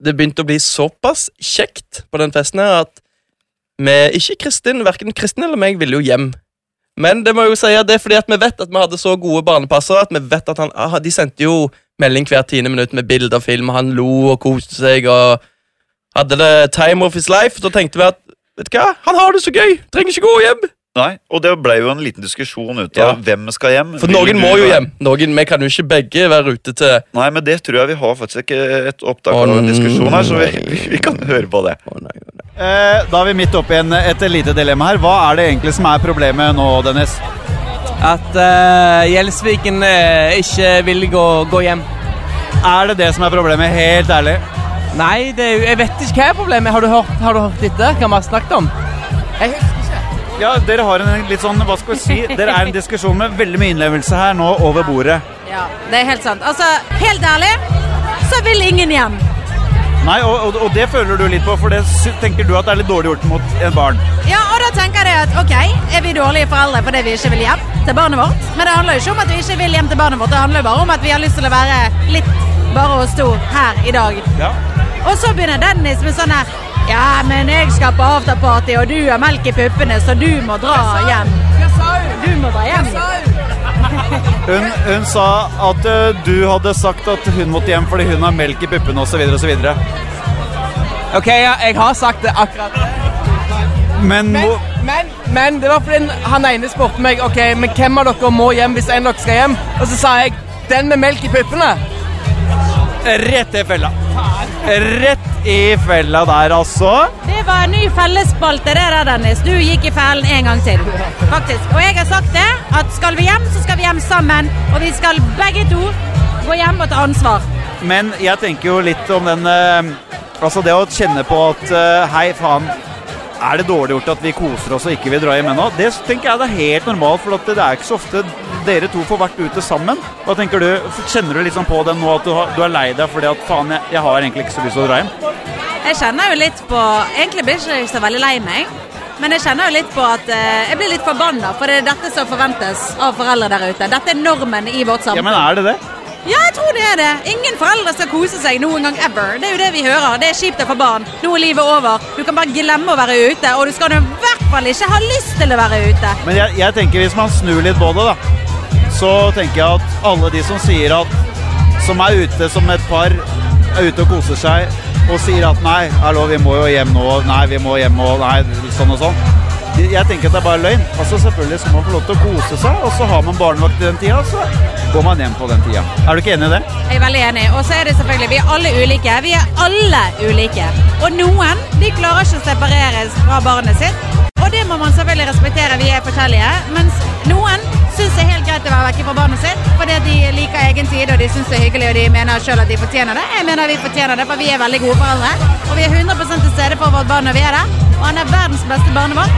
[SPEAKER 2] Det begynte å bli såpass kjekt på den festen her at vi, ikke Kristin, hverken Kristin eller meg, ville jo hjem. Men det må jeg jo si at det er fordi at vi vet at vi hadde så gode barnepassere at vi vet at han, ah, de sendte jo melding hvert tiende minutt med bilder og film, og han lo og koste seg og hadde det time of his life. Da tenkte vi at vet du hva, han har det så gøy, trenger ikke gå hjem.
[SPEAKER 1] Nei, og det blei jo en liten diskusjon ut
[SPEAKER 2] Ja.
[SPEAKER 1] av hvem skal hjem.
[SPEAKER 2] For
[SPEAKER 1] Vil
[SPEAKER 2] noen
[SPEAKER 1] du
[SPEAKER 2] må jo
[SPEAKER 1] være-
[SPEAKER 2] hjem. Noen, Vi kan jo ikke begge være ute til
[SPEAKER 1] Nei, men det tror jeg vi har faktisk ikke et opptak av
[SPEAKER 2] Å,
[SPEAKER 1] en diskusjon her, så vi,
[SPEAKER 2] nei.
[SPEAKER 1] vi, vi kan høre på det.
[SPEAKER 2] Å, nei, å, nei.
[SPEAKER 4] Eh, da er vi midt oppe i en- et lite dilemma her. Hva er det egentlig som er problemet nå, Dennis?
[SPEAKER 5] At eh, Gjelsviken eh, ikke vil gå, gå hjem.
[SPEAKER 4] Er det det som er problemet, helt ærlig?
[SPEAKER 5] Nei, det er jo, jeg vet ikke hva er problemet. Har du hørt, har du hørt dette? Hva vi har snakket om? Jeg husker ikke.
[SPEAKER 4] Ja, dere har en litt sånn, hva skal vi si, dere er en diskusjon med veldig mye innlevelse her nå over bordet.
[SPEAKER 6] Ja, det er helt sant. Altså, helt ærlig, så vil ingen hjem.
[SPEAKER 4] Nei, og, og, og det føler du litt på, for det sy- tenker du at det er litt dårlig gjort mot en barn.
[SPEAKER 6] Ja, og da tenker jeg at ok, er vi dårlige foreldre fordi vi ikke vil hjem til barnet vårt? Men det handler jo ikke om at vi ikke vil hjem til barnet vårt, det handler jo bare om at vi har lyst til å være litt bare oss to her i dag.
[SPEAKER 4] Ja.
[SPEAKER 6] Og så begynner Dennis med sånn her Ja, men jeg skal på afterparty, og du har melk i puppene, så du må dra hjem.
[SPEAKER 5] Hva sa hun?
[SPEAKER 6] Du må dra hjem.
[SPEAKER 4] Hun, hun sa at ø, du hadde sagt at hun måtte hjem fordi hun har melk i puppene osv. osv.
[SPEAKER 5] Ok, ja, jeg har sagt det akkurat.
[SPEAKER 4] Men,
[SPEAKER 5] Men,
[SPEAKER 4] hvor-
[SPEAKER 5] men, men det var fordi han ene spurte meg Ok, men hvem av dere må hjem hvis en av dere skal hjem. Og så sa jeg den med melk i puppene.
[SPEAKER 4] rett i fella. Rett i fella der, altså.
[SPEAKER 6] Det var en ny fellesspalte, det der, Dennis. Du gikk i fellen en gang til. Faktisk. Og jeg har sagt det, at skal vi hjem, så skal vi hjem sammen. Og vi skal begge to gå hjem og ta ansvar.
[SPEAKER 4] Men jeg tenker jo litt om den ø, Altså det å kjenne på at ø, Hei, faen. Er det dårlig gjort at vi koser oss og ikke vil dra hjem ennå? Det tenker jeg det er helt normalt, for at det er ikke så ofte dere to får vært ute sammen. Hva tenker du, Kjenner du liksom på den nå at du, har, du er lei deg fordi at faen, jeg, jeg har egentlig ikke så lyst til å dra hjem?
[SPEAKER 6] Jeg kjenner jo litt på Egentlig blir jeg ikke så veldig lei meg. Men jeg kjenner jo litt på at eh, jeg blir litt forbanna, for det er dette som forventes av foreldre der ute. Dette er normen i vårt
[SPEAKER 4] Ja,
[SPEAKER 6] samfunn.
[SPEAKER 4] men er det det?
[SPEAKER 6] Ja, jeg tror det er det. Ingen foreldre skal kose seg noen gang ever. Det er jo det vi hører. Det er kjipt å få barn. Nå er livet over. Du kan bare glemme å være ute, og du skal nå i hvert fall ikke ha lyst til å være ute.
[SPEAKER 4] Men jeg, jeg tenker hvis man snur litt på det, da, så tenker jeg at alle de som sier at Som er ute som et par, er ute og koser seg, og sier at nei, hallo, vi må jo hjem nå, nei, vi må hjem og nei, sånn og sånn. Jeg- Jeg tenker at det er bare løgn. Altså Selvfølgelig så må man få lov til å kose seg, og så har man barnevakt i den tida, og så går man hjem på den tida. Er du ikke enig i det?
[SPEAKER 6] Jeg er veldig enig. Og så er det selvfølgelig Vi er alle ulike. Vi er alle ulike. Og noen de klarer ikke å separeres fra barnet sitt. og det må man selvfølgelig respektere, vi er forskjellige. Mens noen syns det er helt greit å være vekke fra barnet sitt, fordi de liker egen tid, og de syns det er hyggelig, og de mener sjøl at de fortjener det. Jeg mener vi fortjener det, for vi er veldig gode foreldre. Og vi er 100 til stede for vårt barn når vi er der. Og han er verdens beste barnevakt.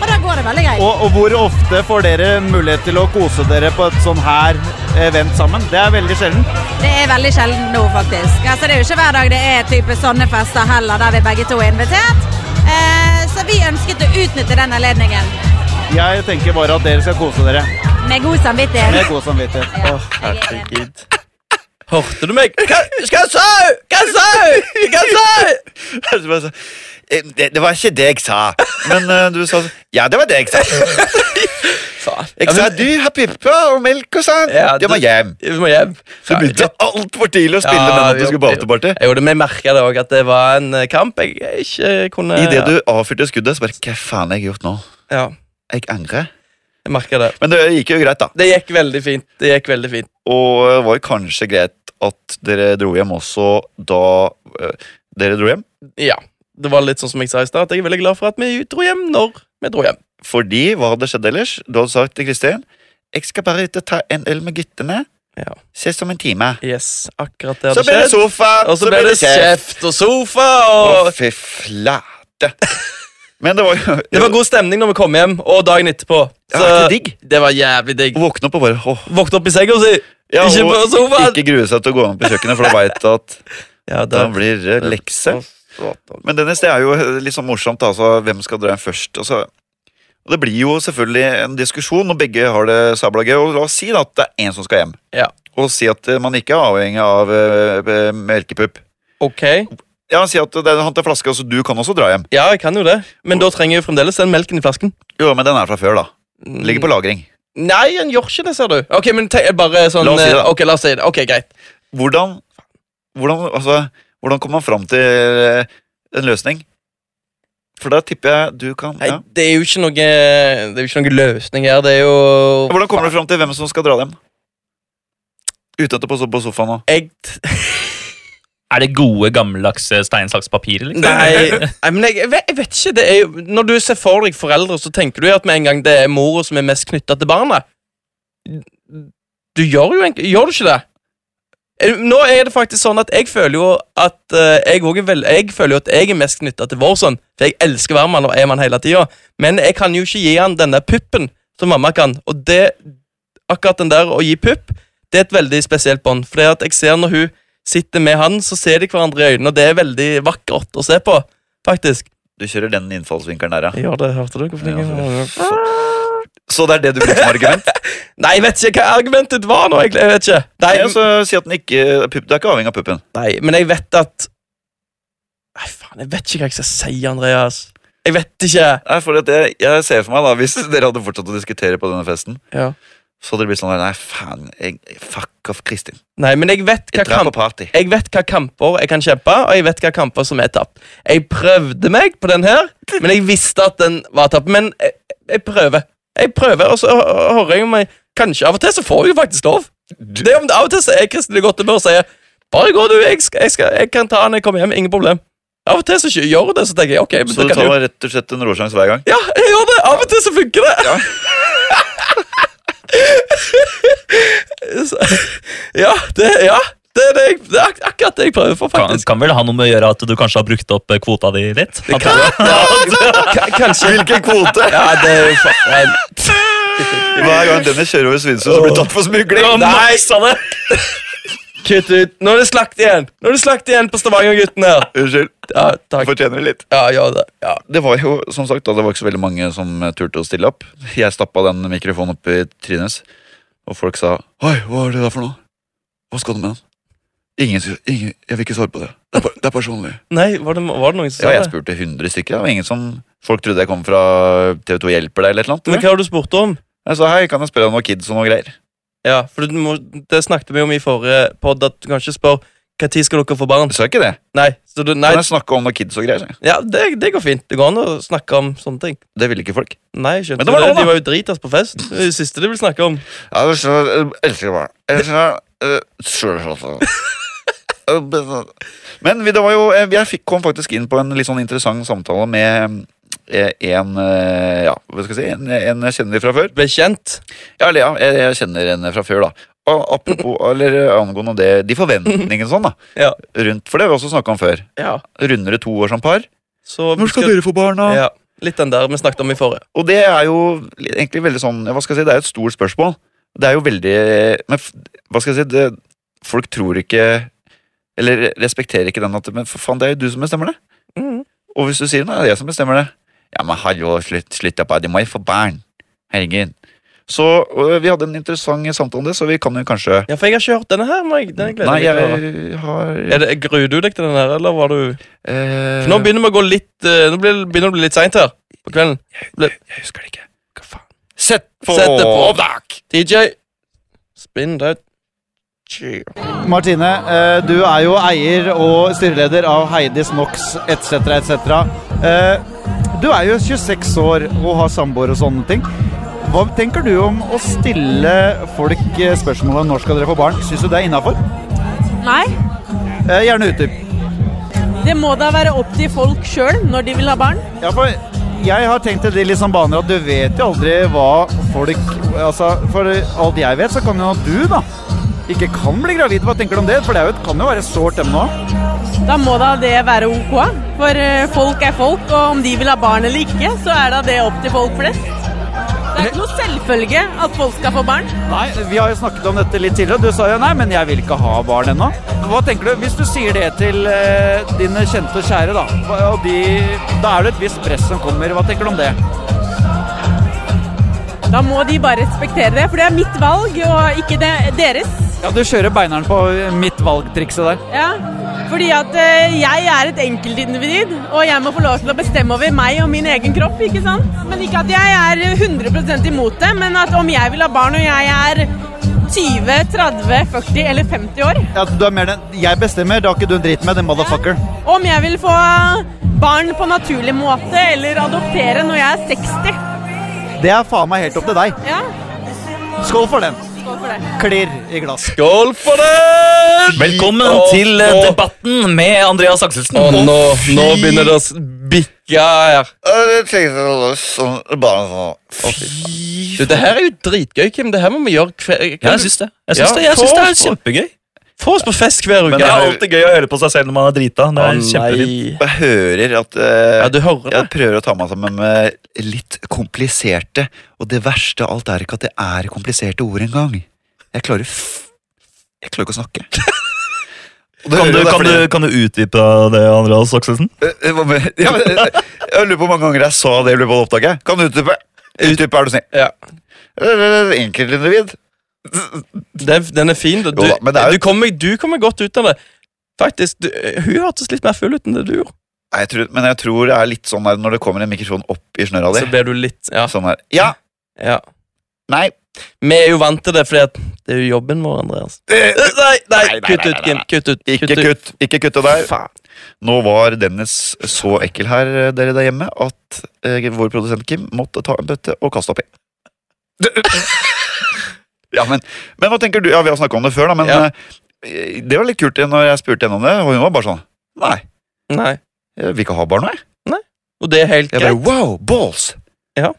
[SPEAKER 6] Og da går det veldig greit.
[SPEAKER 4] Og, og hvor ofte får dere mulighet til å kose dere på et sånn her event sammen? Det er veldig sjelden.
[SPEAKER 6] Det er veldig sjelden nå, faktisk. Altså, det er jo ikke hver dag det er type sånne fester heller, der vi begge to er invitert. Eh, så vi ønsket å utnytte den anledningen.
[SPEAKER 4] Jeg tenker bare at dere skal kose dere.
[SPEAKER 6] Med god samvittighet.
[SPEAKER 4] Med god samvittighet.
[SPEAKER 6] Ja,
[SPEAKER 4] Åh.
[SPEAKER 6] jeg er enig.
[SPEAKER 2] Hørte du meg? Hva hva sa hun? Hva sa hun? Hva sa hun?
[SPEAKER 1] Så bare så, eh, Det, det var ikke det jeg sa, men eh, du sa så- Ja, det var det jeg sa.
[SPEAKER 2] Faen.
[SPEAKER 1] Jeg sa du har pippa og melk og sånn.
[SPEAKER 2] Ja,
[SPEAKER 1] det var
[SPEAKER 2] det-
[SPEAKER 1] hjem.
[SPEAKER 2] Vi må hjem.
[SPEAKER 1] Så begynte jeg altfor tidlig å spille den at du skulle på afterparty.
[SPEAKER 2] Jo, det, vi merka det òg, at det var en eh, kamp jeg ikke eh, kunne
[SPEAKER 1] Idet du avfyrte skuddet, så bare Hva faen har jeg gjort nå?
[SPEAKER 2] Ja,
[SPEAKER 1] Jeg angrer.
[SPEAKER 2] jeg merka det.
[SPEAKER 1] Men det gikk jo greit, da.
[SPEAKER 2] Det gikk veldig fint. Det gikk veldig fint.
[SPEAKER 1] Og det var jo kanskje greit at dere dro hjem også da eh, dere dro hjem.
[SPEAKER 2] Ja. Det var litt sånn som jeg sa i stad, at jeg er veldig glad for at vi dro hjem når vi dro hjem.
[SPEAKER 1] Fordi, hva hadde skjedd ellers? Du hadde sagt til Kristin Jeg skal bare ut og ta en øl med guttene.
[SPEAKER 2] Ja.
[SPEAKER 1] Ses om en time.
[SPEAKER 2] Yes, akkurat det
[SPEAKER 1] Så
[SPEAKER 2] hadde
[SPEAKER 1] ble det
[SPEAKER 2] skjedd.
[SPEAKER 1] sofa,
[SPEAKER 2] Og så ble det kjeft og sofa
[SPEAKER 1] Å,
[SPEAKER 2] og
[SPEAKER 1] fy flate. Men det var jo
[SPEAKER 2] Det var god stemning når vi kom hjem, og dagen etterpå.
[SPEAKER 1] Ja,
[SPEAKER 2] Så
[SPEAKER 1] ikke digg.
[SPEAKER 2] det var jævlig digg.
[SPEAKER 1] Å våkne opp og bare åh.
[SPEAKER 2] Våkne opp i senga si.
[SPEAKER 1] Ja,
[SPEAKER 2] Ikke på
[SPEAKER 1] og
[SPEAKER 2] sofaen.
[SPEAKER 1] ikke grue seg til å gå inn på kjøkkenet, for du veit at
[SPEAKER 2] Ja,
[SPEAKER 1] da
[SPEAKER 2] da
[SPEAKER 1] blir det lekse. Men Dennis, det er jo litt sånn morsomt. da, Altså, hvem skal dra hjem først? Altså, og det blir jo selvfølgelig en diskusjon når begge har det sabla gøy. Og la oss si da at det er én som skal hjem.
[SPEAKER 2] Ja.
[SPEAKER 1] Og si at eh, man ikke er avhengig av eh, eh, melkepupp.
[SPEAKER 2] Ok.
[SPEAKER 1] Ja, Si at det er han til flaska, så du kan også dra hjem.
[SPEAKER 2] Ja, jeg kan jo det. Men da trenger jeg jo fremdeles den melken i flasken.
[SPEAKER 1] Jo, men den er fra før, da. Den Ligger på lagring.
[SPEAKER 2] Nei, han gjør ikke det, ser du. Ok, men te bare sånn
[SPEAKER 1] La oss si det, da.
[SPEAKER 2] eh, Ok, la oss si det. Ok, greit.
[SPEAKER 1] Hvordan, hvordan, altså, hvordan kommer man fram til eh, en løsning? For da tipper jeg du kan
[SPEAKER 2] Nei,
[SPEAKER 1] ja.
[SPEAKER 2] det er jo ikke noe Det er jo ikke noe løsning her. Det er jo
[SPEAKER 1] Hvordan kommer du fram til hvem som skal dra hjem? Uten at det på så- på sofaen nå.
[SPEAKER 2] Jeg t-
[SPEAKER 3] Er det gode, gammeldagse stein, saks, papir? Liksom?
[SPEAKER 2] Nei, nei men jeg, jeg, vet, jeg vet ikke. Det er jo, når du ser for deg foreldre, så tenker du jo at med en gang det er mora som er mest knytta til barnet. Du gjør jo egentlig Gjør du ikke det? Eh, Nå er det faktisk sånn at jeg føler jo at eh, jeg, også er vel, jeg føler jo at jeg er mest knytta til vår sønn, for jeg elsker Værmann og er mann hele tida, men jeg kan jo ikke gi han denne puppen som mamma kan, og det akkurat den der å gi pupp, det er et veldig spesielt bånd. For det at jeg ser når hun sitter med han, så ser de hverandre i øynene, og det er veldig vakkert å se på. Faktisk.
[SPEAKER 1] Du kjører den innfallsvinkelen der, ja.
[SPEAKER 2] Ja, det hørte du. Hvorfor
[SPEAKER 1] Ja,
[SPEAKER 2] ikke?
[SPEAKER 1] Så det er det du bruker som argument?
[SPEAKER 2] Nei, jeg vet ikke hva argumentet var nå. egentlig, Jeg vet ikke. Nei,
[SPEAKER 1] Nei, altså, si at den ikke, pup, Det er ikke avhengig av puppen.
[SPEAKER 2] nei, men jeg vet at Nei, faen, jeg vet ikke hva jeg skal si, Andreas. Jeg vet ikke.
[SPEAKER 1] Nei, for det, jeg ser for meg da, Hvis dere hadde fortsatt å diskutere på denne festen,
[SPEAKER 2] Ja.
[SPEAKER 1] så hadde det blitt sånn der, Nei, faen, jeg, fuck off, Kristin.
[SPEAKER 2] Nei, men jeg vet hva
[SPEAKER 1] Jeg drar
[SPEAKER 2] kamp
[SPEAKER 1] på party.
[SPEAKER 2] Jeg vet hva kamper jeg kan kjempe, og jeg vet hva kamper som er tapt. Jeg prøvde meg på den her, men jeg visste at den var tapt. Men jeg, jeg prøver. Jeg prøver, og så hø- hø- hører jeg meg Kanskje av og til så får jeg jo faktisk lov. Det er om Av og til så er Kristin i godt humør og sier 'Bare gå, du. Jeg, skal, jeg, skal, jeg kan ta den når jeg kommer hjem. Ingen problem.' Av og til så ikke gjør hun det, så tenker jeg ok, men
[SPEAKER 1] Så
[SPEAKER 2] da
[SPEAKER 1] du
[SPEAKER 2] kan
[SPEAKER 1] tar
[SPEAKER 2] jo
[SPEAKER 1] rett og slett en råsjanse hver gang?
[SPEAKER 2] Ja, jeg gjør det! Av og til så funker det. Ja. ja, det, ja. Det, er det, jeg, det er ak akkurat det jeg prøver for,
[SPEAKER 3] Kan,
[SPEAKER 2] faktisk.
[SPEAKER 3] kan vel ha noe med å gjøre at du kanskje har brukt opp eh, kvota di litt? At du-
[SPEAKER 2] Ka- Kanskje
[SPEAKER 1] Hvilken kvote!
[SPEAKER 2] Ja, det er jo fa- Nei,
[SPEAKER 1] Hver gang Dennis kjører over Svinesund, så blir tatt for smugling.
[SPEAKER 2] Nei, kutt ut. Nå er det slakt igjen Nå er det slakt igjen på Stavanger-gutten her.
[SPEAKER 1] Unnskyld.
[SPEAKER 2] Ja, takk.
[SPEAKER 1] Fortjener det litt.
[SPEAKER 2] Ja, gjør det. Ja.
[SPEAKER 1] Det var jo, som sagt, da, det var ikke så veldig mange som eh, turte å stille opp. Jeg stappa den mikrofonen opp i trynet, hans, og folk sa Oi, hva er det der for noe? Hva skal du med den? Ingen, sier- ingen, jeg vil ikke svare på det. Det er, per- det er personlig.
[SPEAKER 2] Nei, var det, var det noen som
[SPEAKER 1] Ja,
[SPEAKER 2] sa
[SPEAKER 1] jeg
[SPEAKER 2] det?
[SPEAKER 1] spurte 100 stykker. Det var ingen som Folk trodde jeg kom fra TV2 Hjelper deg eller et eller annet. tror
[SPEAKER 2] Men
[SPEAKER 1] jeg.
[SPEAKER 2] hva har du spurt om?
[SPEAKER 1] Jeg sa hei, kan jeg spørre deg om noe kids og noe greier?
[SPEAKER 2] Ja, for du må, Det snakket vi om i forrige podd, at du kan ikke spørre når skal dere få barn.
[SPEAKER 1] Jeg sa ikke det.
[SPEAKER 2] Nei, så du, nei
[SPEAKER 1] Kan jeg snakke om noe kids og greier? sa jeg.
[SPEAKER 2] ja, det, det går fint. Det går an å snakke om sånne ting.
[SPEAKER 1] Det ville ikke folk.
[SPEAKER 2] Nei, jeg skjønte
[SPEAKER 1] Men det var
[SPEAKER 2] det.
[SPEAKER 1] lov, da.
[SPEAKER 2] De var jo dritas på fest. Det er det siste de vil snakke om.
[SPEAKER 1] Ja, du skjønner, jeg elsker barn. Jeg skjønner, eh, altså. skjønner, eh, skjønner. Men vi- det var jo eh, Jeg fikk, kom faktisk inn på en litt sånn interessant samtale med eh, en eh, Ja, hva skal jeg si? En, en jeg kjenner fra før.
[SPEAKER 2] Ble kjent.
[SPEAKER 1] Ja, eller ja, jeg, jeg kjenner henne fra før, da. Og apropos, eller eh, angående det, de forventningene sånn, da.
[SPEAKER 2] Ja.
[SPEAKER 1] Rundt, for det har vi også snakka om før.
[SPEAKER 2] ja.
[SPEAKER 1] Rundere to år som par.
[SPEAKER 2] Så
[SPEAKER 1] Når skal dere få barna?
[SPEAKER 2] Ja, Litt den der vi snakket om i forrige.
[SPEAKER 1] Og det er jo egentlig veldig sånn ja, Hva skal jeg si, det er jo et stort spørsmål. Det er jo veldig Men f- hva skal jeg si, det, folk tror ikke Eller respekterer ikke den at Men for faen, det er jo du som bestemmer det.
[SPEAKER 2] Mhm.
[SPEAKER 1] Og hvis du sier nei, det er jeg som bestemmer det. Ja, men hallo, slutt, slutt opp, de må jo få barn. Herregud. Så øh, vi hadde en interessant samtale om det, så vi kan jo kanskje
[SPEAKER 2] Ja, for jeg har ikke hørt denne her. Meg. Den gleder
[SPEAKER 1] Nei,
[SPEAKER 2] jeg meg til å høre.
[SPEAKER 1] jeg har
[SPEAKER 2] Er det, Gruer du deg til den her, eller var du
[SPEAKER 1] eh,
[SPEAKER 2] Nå begynner vi å gå litt eh, Nå blir, begynner det å bli litt seint her på kvelden.
[SPEAKER 1] Jeg husker det ikke. Hva faen?
[SPEAKER 2] Sett
[SPEAKER 1] på
[SPEAKER 2] opptak! DJ, spinn det. Tjue.
[SPEAKER 4] Martine, eh, du er jo eier og styreleder av Heidis Knox etc. etc. Eh, Du er jo 26 år og har samboer og sånne ting. Hva tenker du om å stille folk eh, spørsmålet om når skal dere få barn? Syns du det er innafor? Eh,
[SPEAKER 7] Nei,
[SPEAKER 4] Gjerne utdyp.
[SPEAKER 7] det må da være opp til folk sjøl når de vil ha barn.
[SPEAKER 4] Ja, for jeg har tenkt det litt sånn baner at du vet jo aldri hva folk Altså, for alt jeg vet, så kan jo du, da, ikke kan bli gravid. Hva tenker du om det? For det er jo, et- kan jo være et sårt emne òg.
[SPEAKER 7] Da må da det være ok. For eh, folk er folk, og om de vil ha barn eller ikke, så er da det opp til folk flest. Det er ikke noe selvfølge at folk skal få barn.
[SPEAKER 4] Nei, vi har jo snakket om dette litt tidligere. og Du sa jo nei, men jeg vil ikke ha barn ennå. Hva tenker du, hvis du sier det til eh, dine kjente og kjære, da, hva- og de, da er det et visst press som kommer. Hva tenker du om det?
[SPEAKER 7] Da må de bare respektere det, for det er mitt valg og ikke det, deres.
[SPEAKER 4] Ja, du kjører beineren på mitt valgtrikset der.
[SPEAKER 7] Ja, fordi at eh, jeg er et enkeltindivid, og jeg må få lov til å bestemme over meg og min egen kropp, ikke sant? Men ikke at jeg er 100 imot det, men at om jeg vil ha barn og jeg er 20, 30, 40 eller 50 år,
[SPEAKER 4] Ja, du er mer den 'jeg bestemmer', det har ikke du en dritt med, den motherfucker.
[SPEAKER 7] om jeg vil få barn på naturlig måte eller adoptere når jeg er 60,
[SPEAKER 4] Det er faen meg helt opp til deg.
[SPEAKER 7] ja,
[SPEAKER 4] Skål for den.
[SPEAKER 7] skål for det.
[SPEAKER 4] Klirr i glass.
[SPEAKER 2] Skål for det!
[SPEAKER 3] Velkommen
[SPEAKER 2] Og-
[SPEAKER 3] til eh,
[SPEAKER 2] og-
[SPEAKER 3] debatten med Andreas Akselsen.
[SPEAKER 2] Og nå, nå begynner det å s- bikke her.
[SPEAKER 1] Eh, jeg tenkte det var sånn- bare sånn, Fy
[SPEAKER 2] Du, det her er jo dritgøy, Kim. Det her må vi gjøre hver
[SPEAKER 3] Ja, jeg syns det. Jeg syns det, jeg syns det er kjempegøy.
[SPEAKER 2] Få oss på fest hver uke.
[SPEAKER 1] Men det er jo-
[SPEAKER 3] alltid gøy å høre på seg selv når man er drita. Det
[SPEAKER 2] Å,
[SPEAKER 1] Jeg hører at eh,
[SPEAKER 2] Ja, du hører det.
[SPEAKER 1] Jeg prøver å ta meg sammen med litt kompliserte, og det verste av alt er ikke at det er kompliserte ord engang. Jeg klarer f... Jeg klarer ikke å snakke. Og det
[SPEAKER 3] Kan
[SPEAKER 1] hører
[SPEAKER 3] du,
[SPEAKER 1] jeg, det er
[SPEAKER 3] kan, du,
[SPEAKER 1] fordi-
[SPEAKER 3] kan du utdype det, Andreas Akselsen?
[SPEAKER 1] Eh, hva med- ja, men, eh, Jeg lurer på hvor mange ganger jeg sa det i løpet av opptaket. Kan du utdype? Utdype, er du snill.
[SPEAKER 2] Ja.
[SPEAKER 1] Eh, Enkeltindivid.
[SPEAKER 2] Den, den er fin. Du,
[SPEAKER 1] Jo da, men det er jo-
[SPEAKER 2] du, kommer, du kommer godt ut av det. Faktisk, du, Hun hørtes litt mer full ut enn det du gjorde.
[SPEAKER 1] Nei, jeg tror, men jeg tror det er litt sånn der, når det kommer en mikrofon opp i snøra
[SPEAKER 2] Så
[SPEAKER 1] di.
[SPEAKER 2] ble du litt ja,
[SPEAKER 1] Sånn her. Ja.
[SPEAKER 2] ja.
[SPEAKER 1] Nei.
[SPEAKER 2] Vi er jo vant til det, fordi at det er jo jobben vår, Andreas.
[SPEAKER 1] Eh,
[SPEAKER 2] Eh, Nei, nei,
[SPEAKER 1] Nei, nei,
[SPEAKER 2] kutt
[SPEAKER 1] nei,
[SPEAKER 2] ut,
[SPEAKER 1] nei,
[SPEAKER 2] Kim.
[SPEAKER 1] nei.
[SPEAKER 2] Kutt ut.
[SPEAKER 1] Ikke kutt. Ikke kutt det der.
[SPEAKER 2] Faen.
[SPEAKER 1] Nå var Dennis så ekkel her eh, dere der hjemme at eh, vår produsent Kim måtte ta en bøtte og kaste oppi. ja, men, men hva tenker du? Ja, Vi har snakka om det før, da, men
[SPEAKER 2] Ja.
[SPEAKER 1] eh, det var litt kult eh, når jeg spurte henne om det. Og hun var bare sånn Nei,
[SPEAKER 2] Nei.
[SPEAKER 1] jeg vil ikke ha barn, nå, jeg.
[SPEAKER 2] Og det er helt
[SPEAKER 1] Jeg bare
[SPEAKER 2] greit.
[SPEAKER 1] wow, balls!
[SPEAKER 2] Ja.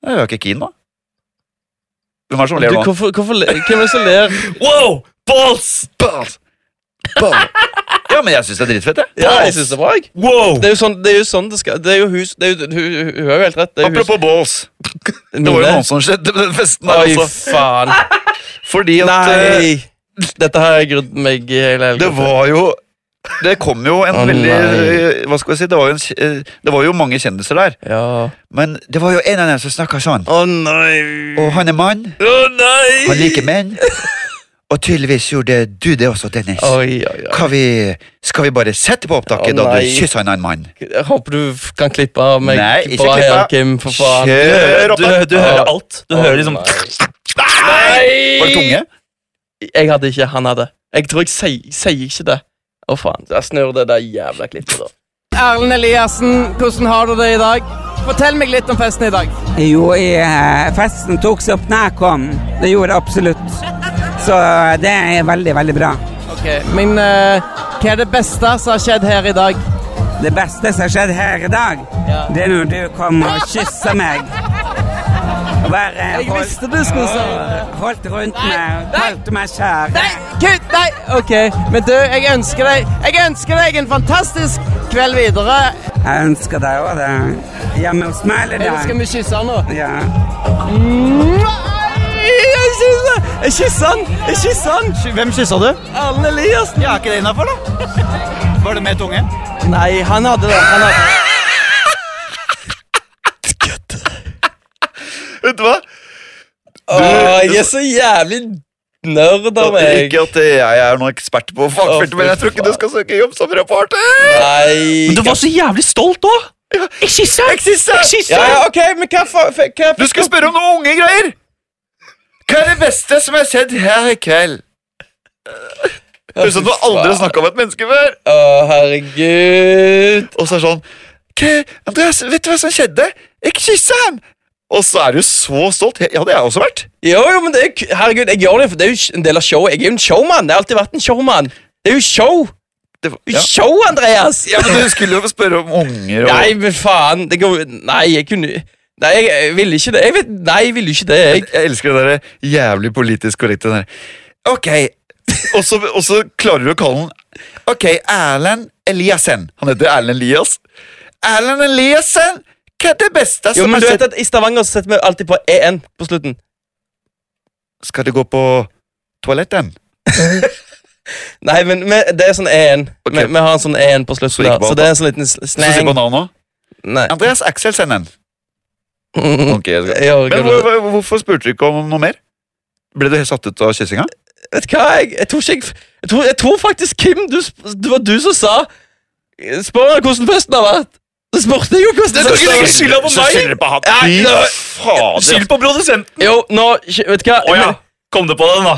[SPEAKER 1] Jeg er jo ikke keen, da. Hvem er det som
[SPEAKER 2] Du,
[SPEAKER 1] ler nå?
[SPEAKER 2] hvorfor, hvorfor, le- hvem er det som ler?
[SPEAKER 3] Wow! Balls!
[SPEAKER 1] Balls! Balls! ja, men jeg syns det er dritfett, jeg.
[SPEAKER 2] Ja, jeg synes det er bra. jeg.
[SPEAKER 3] Wow!
[SPEAKER 2] Det er jo sånn det, er jo sånn det skal Det er jo hus det er jo, hun, hun, hun har jo helt rett. Det er jo hus.
[SPEAKER 1] Apropos balls. Det var jo noen som skjedde på den festen der
[SPEAKER 2] Oi,
[SPEAKER 1] også.
[SPEAKER 2] faen.
[SPEAKER 1] Fordi at eh,
[SPEAKER 2] Nei! Dette har jeg grudd meg i hele
[SPEAKER 1] Det
[SPEAKER 2] helgen.
[SPEAKER 1] var jo Det kom jo en
[SPEAKER 2] Å,
[SPEAKER 1] veldig
[SPEAKER 2] nei.
[SPEAKER 1] eh, Hva skal jeg si Det var jo, en, kj- eh, det var jo mange kjendiser der,
[SPEAKER 2] Ja.
[SPEAKER 1] men det var jo en av dem som snakka sånn.
[SPEAKER 2] Å nei!
[SPEAKER 1] Og han er mann,
[SPEAKER 2] Å nei!
[SPEAKER 1] han liker menn. Og tydeligvis gjorde du det også, Dennis.
[SPEAKER 2] Oi, oi, oi.
[SPEAKER 1] Hva vi, skal vi bare sette på opptaket
[SPEAKER 2] Å,
[SPEAKER 1] da du
[SPEAKER 2] nei.
[SPEAKER 1] kysser en annen mann?
[SPEAKER 2] Jeg håper du f- kan klippe av meg
[SPEAKER 1] Nei, ikke
[SPEAKER 2] bra
[SPEAKER 1] klippe
[SPEAKER 2] her,
[SPEAKER 1] av.
[SPEAKER 2] Kim. For faen.
[SPEAKER 1] Kjør opp,
[SPEAKER 3] Du,
[SPEAKER 1] da!
[SPEAKER 3] du hører alt. Du
[SPEAKER 2] Å,
[SPEAKER 3] hører liksom
[SPEAKER 2] nei.
[SPEAKER 1] Var det tunge?
[SPEAKER 2] Jeg hadde ikke, han hadde. Jeg tror jeg sier sier ikke det. Å, faen. Jeg snur det der jævla klippet, da.
[SPEAKER 5] Erlend Eliassen, hvordan har du det i dag? Fortell meg litt om festen i dag.
[SPEAKER 8] Jo, i, eh, festen tok seg opp når jeg kom. Det gjorde jeg absolutt. Så eh, det er veldig, veldig bra.
[SPEAKER 5] Ok, Men eh, hva er det beste som har skjedd her i dag?
[SPEAKER 8] Det beste som har skjedd her i dag,
[SPEAKER 5] Ja.
[SPEAKER 8] det er når du kommer og kysser meg. Og bare
[SPEAKER 5] Jeg
[SPEAKER 8] holdt,
[SPEAKER 5] visste du skulle si det.
[SPEAKER 8] holdt rundt meg og
[SPEAKER 5] Nei.
[SPEAKER 8] kalte meg kjære.
[SPEAKER 5] Nei, kutt! Nei! OK. Men du, jeg ønsker deg Jeg ønsker deg en fantastisk kveld videre.
[SPEAKER 8] Jeg ønsker deg òg det. Hjemme hos meg eller
[SPEAKER 5] Eller skal
[SPEAKER 8] der?
[SPEAKER 5] vi kysse nå?
[SPEAKER 8] Ja.
[SPEAKER 5] Nei, Jeg kysser Jeg kysser han! Jeg kysser han!
[SPEAKER 4] Hvem kyssa du?
[SPEAKER 5] Erlend Eliassen!
[SPEAKER 4] Ja, er ikke det innafor, da? Var det med tunge?
[SPEAKER 5] Nei, han hadde det. Han hadde.
[SPEAKER 1] Vet du hva?
[SPEAKER 2] Åh, jeg er så jævlig nerd av meg.
[SPEAKER 1] Ikke at jeg er noen ekspert på fagfeltet,
[SPEAKER 2] Å,
[SPEAKER 1] men jeg
[SPEAKER 2] fy
[SPEAKER 1] tror ikke
[SPEAKER 2] faen.
[SPEAKER 1] du skal søke jobb som reporter!
[SPEAKER 2] Nei
[SPEAKER 3] Men du var så jævlig stolt òg! Jeg kysser! Jeg kysser!
[SPEAKER 2] Ja, ja, OK, men hva faen hva,
[SPEAKER 1] Du skal spørre om noen unge greier! Hva er det beste som er skjedd her i kveld? Høres ut som du aldri har snakka om et menneske før.
[SPEAKER 2] Å, herregud.
[SPEAKER 1] Og så er det sånn «Hva, Andreas, vet du hva som skjedde? Jeg kyssa ham! Og så er du så stolt. Ja, det har jeg også vært.
[SPEAKER 2] Jo, jo, men det er, k- herregud, jeg gjør det, for det er jo en del av showet. Jeg er jo en showman. Det har alltid vært en showman. Det er jo show.
[SPEAKER 1] Det var,
[SPEAKER 2] Det er
[SPEAKER 1] ja.
[SPEAKER 2] jo Show, Andreas!
[SPEAKER 1] ja, men Du skulle jo få spørre om unger og
[SPEAKER 2] Nei, men faen. Det går, nei, jeg kunne Nei, jeg, jeg ville ikke det. Jeg vet, nei, jeg ville ikke det. Jeg.
[SPEAKER 1] Jeg elsker det der jævlig politisk korrekte der. Ok. Og så, og så klarer du å kalle han Ok, Erlend Eliassen. Han heter Erlend Elias. Erlend Eliassen! Hva er det beste
[SPEAKER 2] Jo,
[SPEAKER 1] som
[SPEAKER 2] men
[SPEAKER 1] er
[SPEAKER 2] du vet
[SPEAKER 1] skjedd?
[SPEAKER 2] at I Stavanger så setter vi alltid på EN på slutten.
[SPEAKER 1] Skal du gå på toaletten?
[SPEAKER 2] Nei, men vi, det er sånn EN.
[SPEAKER 1] Ok.
[SPEAKER 2] Vi, vi har en sånn EN på slutten.
[SPEAKER 1] Så ikke
[SPEAKER 2] der,
[SPEAKER 1] bare-
[SPEAKER 2] så det er en sånn liten s-
[SPEAKER 1] Så sier
[SPEAKER 2] slang.
[SPEAKER 1] banan også.
[SPEAKER 2] Nei.
[SPEAKER 1] Andreas Akselsennen. Ok, jeg skal.
[SPEAKER 2] Jeg
[SPEAKER 1] Mm.
[SPEAKER 2] orker
[SPEAKER 1] Men
[SPEAKER 2] det.
[SPEAKER 1] hvor, hvor- hvorfor spurte du ikke om noe mer? Ble du helt satt ut av kyssinga?
[SPEAKER 2] Vet du hva, jeg, jeg tror ikke jeg, jeg, tror, jeg tror faktisk, Kim, du, sp- det var du som sa Spør meg hvordan festen har vært. Så spurte jeg jo hvordan
[SPEAKER 3] Du kan
[SPEAKER 2] festen har
[SPEAKER 3] ikke
[SPEAKER 2] vært.
[SPEAKER 3] skylde på
[SPEAKER 1] Så skylder
[SPEAKER 3] meg!
[SPEAKER 1] du på han.
[SPEAKER 3] Nei,
[SPEAKER 1] Fy
[SPEAKER 3] nå-
[SPEAKER 1] fader.
[SPEAKER 3] Skyld på produsenten!
[SPEAKER 2] Jo, nå, vet du hva
[SPEAKER 3] Å ja. Kom du på den, da?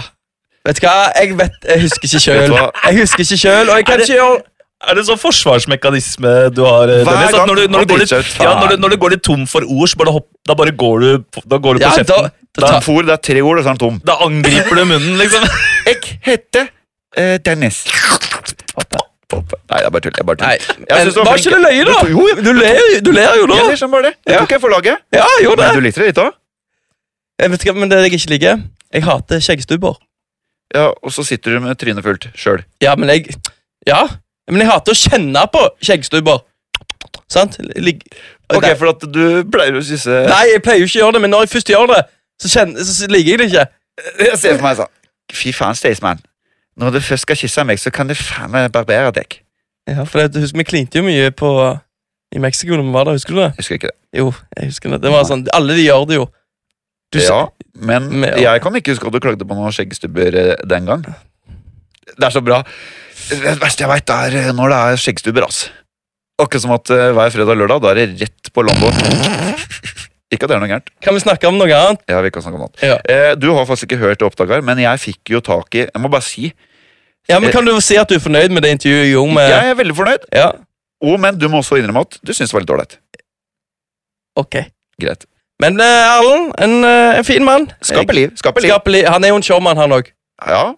[SPEAKER 2] Vet du hva, jeg vet Jeg husker ikke
[SPEAKER 1] Vet
[SPEAKER 2] sjøl.
[SPEAKER 1] du hva?
[SPEAKER 2] Jeg husker ikke sjøl, og jeg kan
[SPEAKER 3] Er det-
[SPEAKER 2] ikke gjøre
[SPEAKER 3] Er det sånn forsvarsmekanisme du har, eh,
[SPEAKER 1] Hver
[SPEAKER 3] Dennis? At
[SPEAKER 1] gang
[SPEAKER 3] når du,
[SPEAKER 1] han
[SPEAKER 3] når, du går litt,
[SPEAKER 1] driter seg ut, faen.
[SPEAKER 3] ja, når, du, når du går litt tom for ord, så bare hopp, da bare går du, på- da går du på
[SPEAKER 2] Ja, da-
[SPEAKER 3] kjeften. Da, da,
[SPEAKER 1] Han for, det er tre ord, og så er han tom.
[SPEAKER 3] angriper du munnen, liksom.
[SPEAKER 1] Jeg heter eh, Dennis. Nei, jeg bare tuller. Jeg bare
[SPEAKER 2] Nei,
[SPEAKER 1] tuller. Jeg
[SPEAKER 2] men
[SPEAKER 1] synes du var
[SPEAKER 2] var
[SPEAKER 1] flink.
[SPEAKER 2] ikke det løye, da?
[SPEAKER 1] Du- jo, jeg-
[SPEAKER 2] Du ler jo, du ler jo nå.
[SPEAKER 1] Jeg ler som bare det. Jeg
[SPEAKER 2] Ja.
[SPEAKER 1] tok jeg for laget.
[SPEAKER 2] Ja, jeg gjorde
[SPEAKER 1] Men
[SPEAKER 2] det.
[SPEAKER 1] du likte det litt òg?
[SPEAKER 2] Jeg vet ikke, men det jeg ikke liker Jeg hater skjeggstubber.
[SPEAKER 1] Ja, og så sitter du med trynet fullt sjøl.
[SPEAKER 2] Ja, men jeg Ja, men jeg hater å kjenne på skjeggstubber. Sant? Ligg-
[SPEAKER 1] Ok,
[SPEAKER 2] Nei,
[SPEAKER 1] for at du pleier å kysse
[SPEAKER 2] Nei, jeg pleier jo ikke å gjøre det, men når jeg først gjør det, så, kjenner, så liker jeg det ikke.
[SPEAKER 1] Jeg ser for meg sånn Fy faen, Staysman. Når du først skal kysse meg, så kan du faen meg barbere deg.
[SPEAKER 2] Ja, for det, husk, Vi klinte jo mye på i Mexico når vi var der, husker du det?
[SPEAKER 1] Jeg Husker ikke det.
[SPEAKER 2] Jo, jeg husker det. Det var sånn, Alle de gjør det jo. Du sa-
[SPEAKER 1] ja, men
[SPEAKER 2] Men-
[SPEAKER 1] jeg kan ikke huske at du klagde på noen skjeggstubber eh, den gang. Det er så bra. Det verste jeg veit, er eh, når det er skjeggstubber, altså. Akkurat som at eh, hver fredag og lørdag, da er det rett på Lambo. Ikke at det er noe gærent.
[SPEAKER 2] Kan vi snakke om noe annet?
[SPEAKER 1] Jeg vil ikke snakke om annet.
[SPEAKER 2] Ja.
[SPEAKER 1] Eh, Du har faktisk ikke hørt det opptaket her, men jeg fikk jo tak i Jeg må bare si,
[SPEAKER 2] Ja, men Kan du si at du er fornøyd med det intervjuet jeg gjorde med
[SPEAKER 1] Eh. jeg er veldig fornøyd,
[SPEAKER 2] Ja,
[SPEAKER 1] og, men du må også innrømme at du syns det var litt ålreit.
[SPEAKER 2] ok.
[SPEAKER 1] Greit.
[SPEAKER 2] Men eh, Erlend, en, eh, en fin mann.
[SPEAKER 1] Skape liv. Skape liv.
[SPEAKER 2] Skapelig. Han er jo en showman, han òg.
[SPEAKER 1] Ja,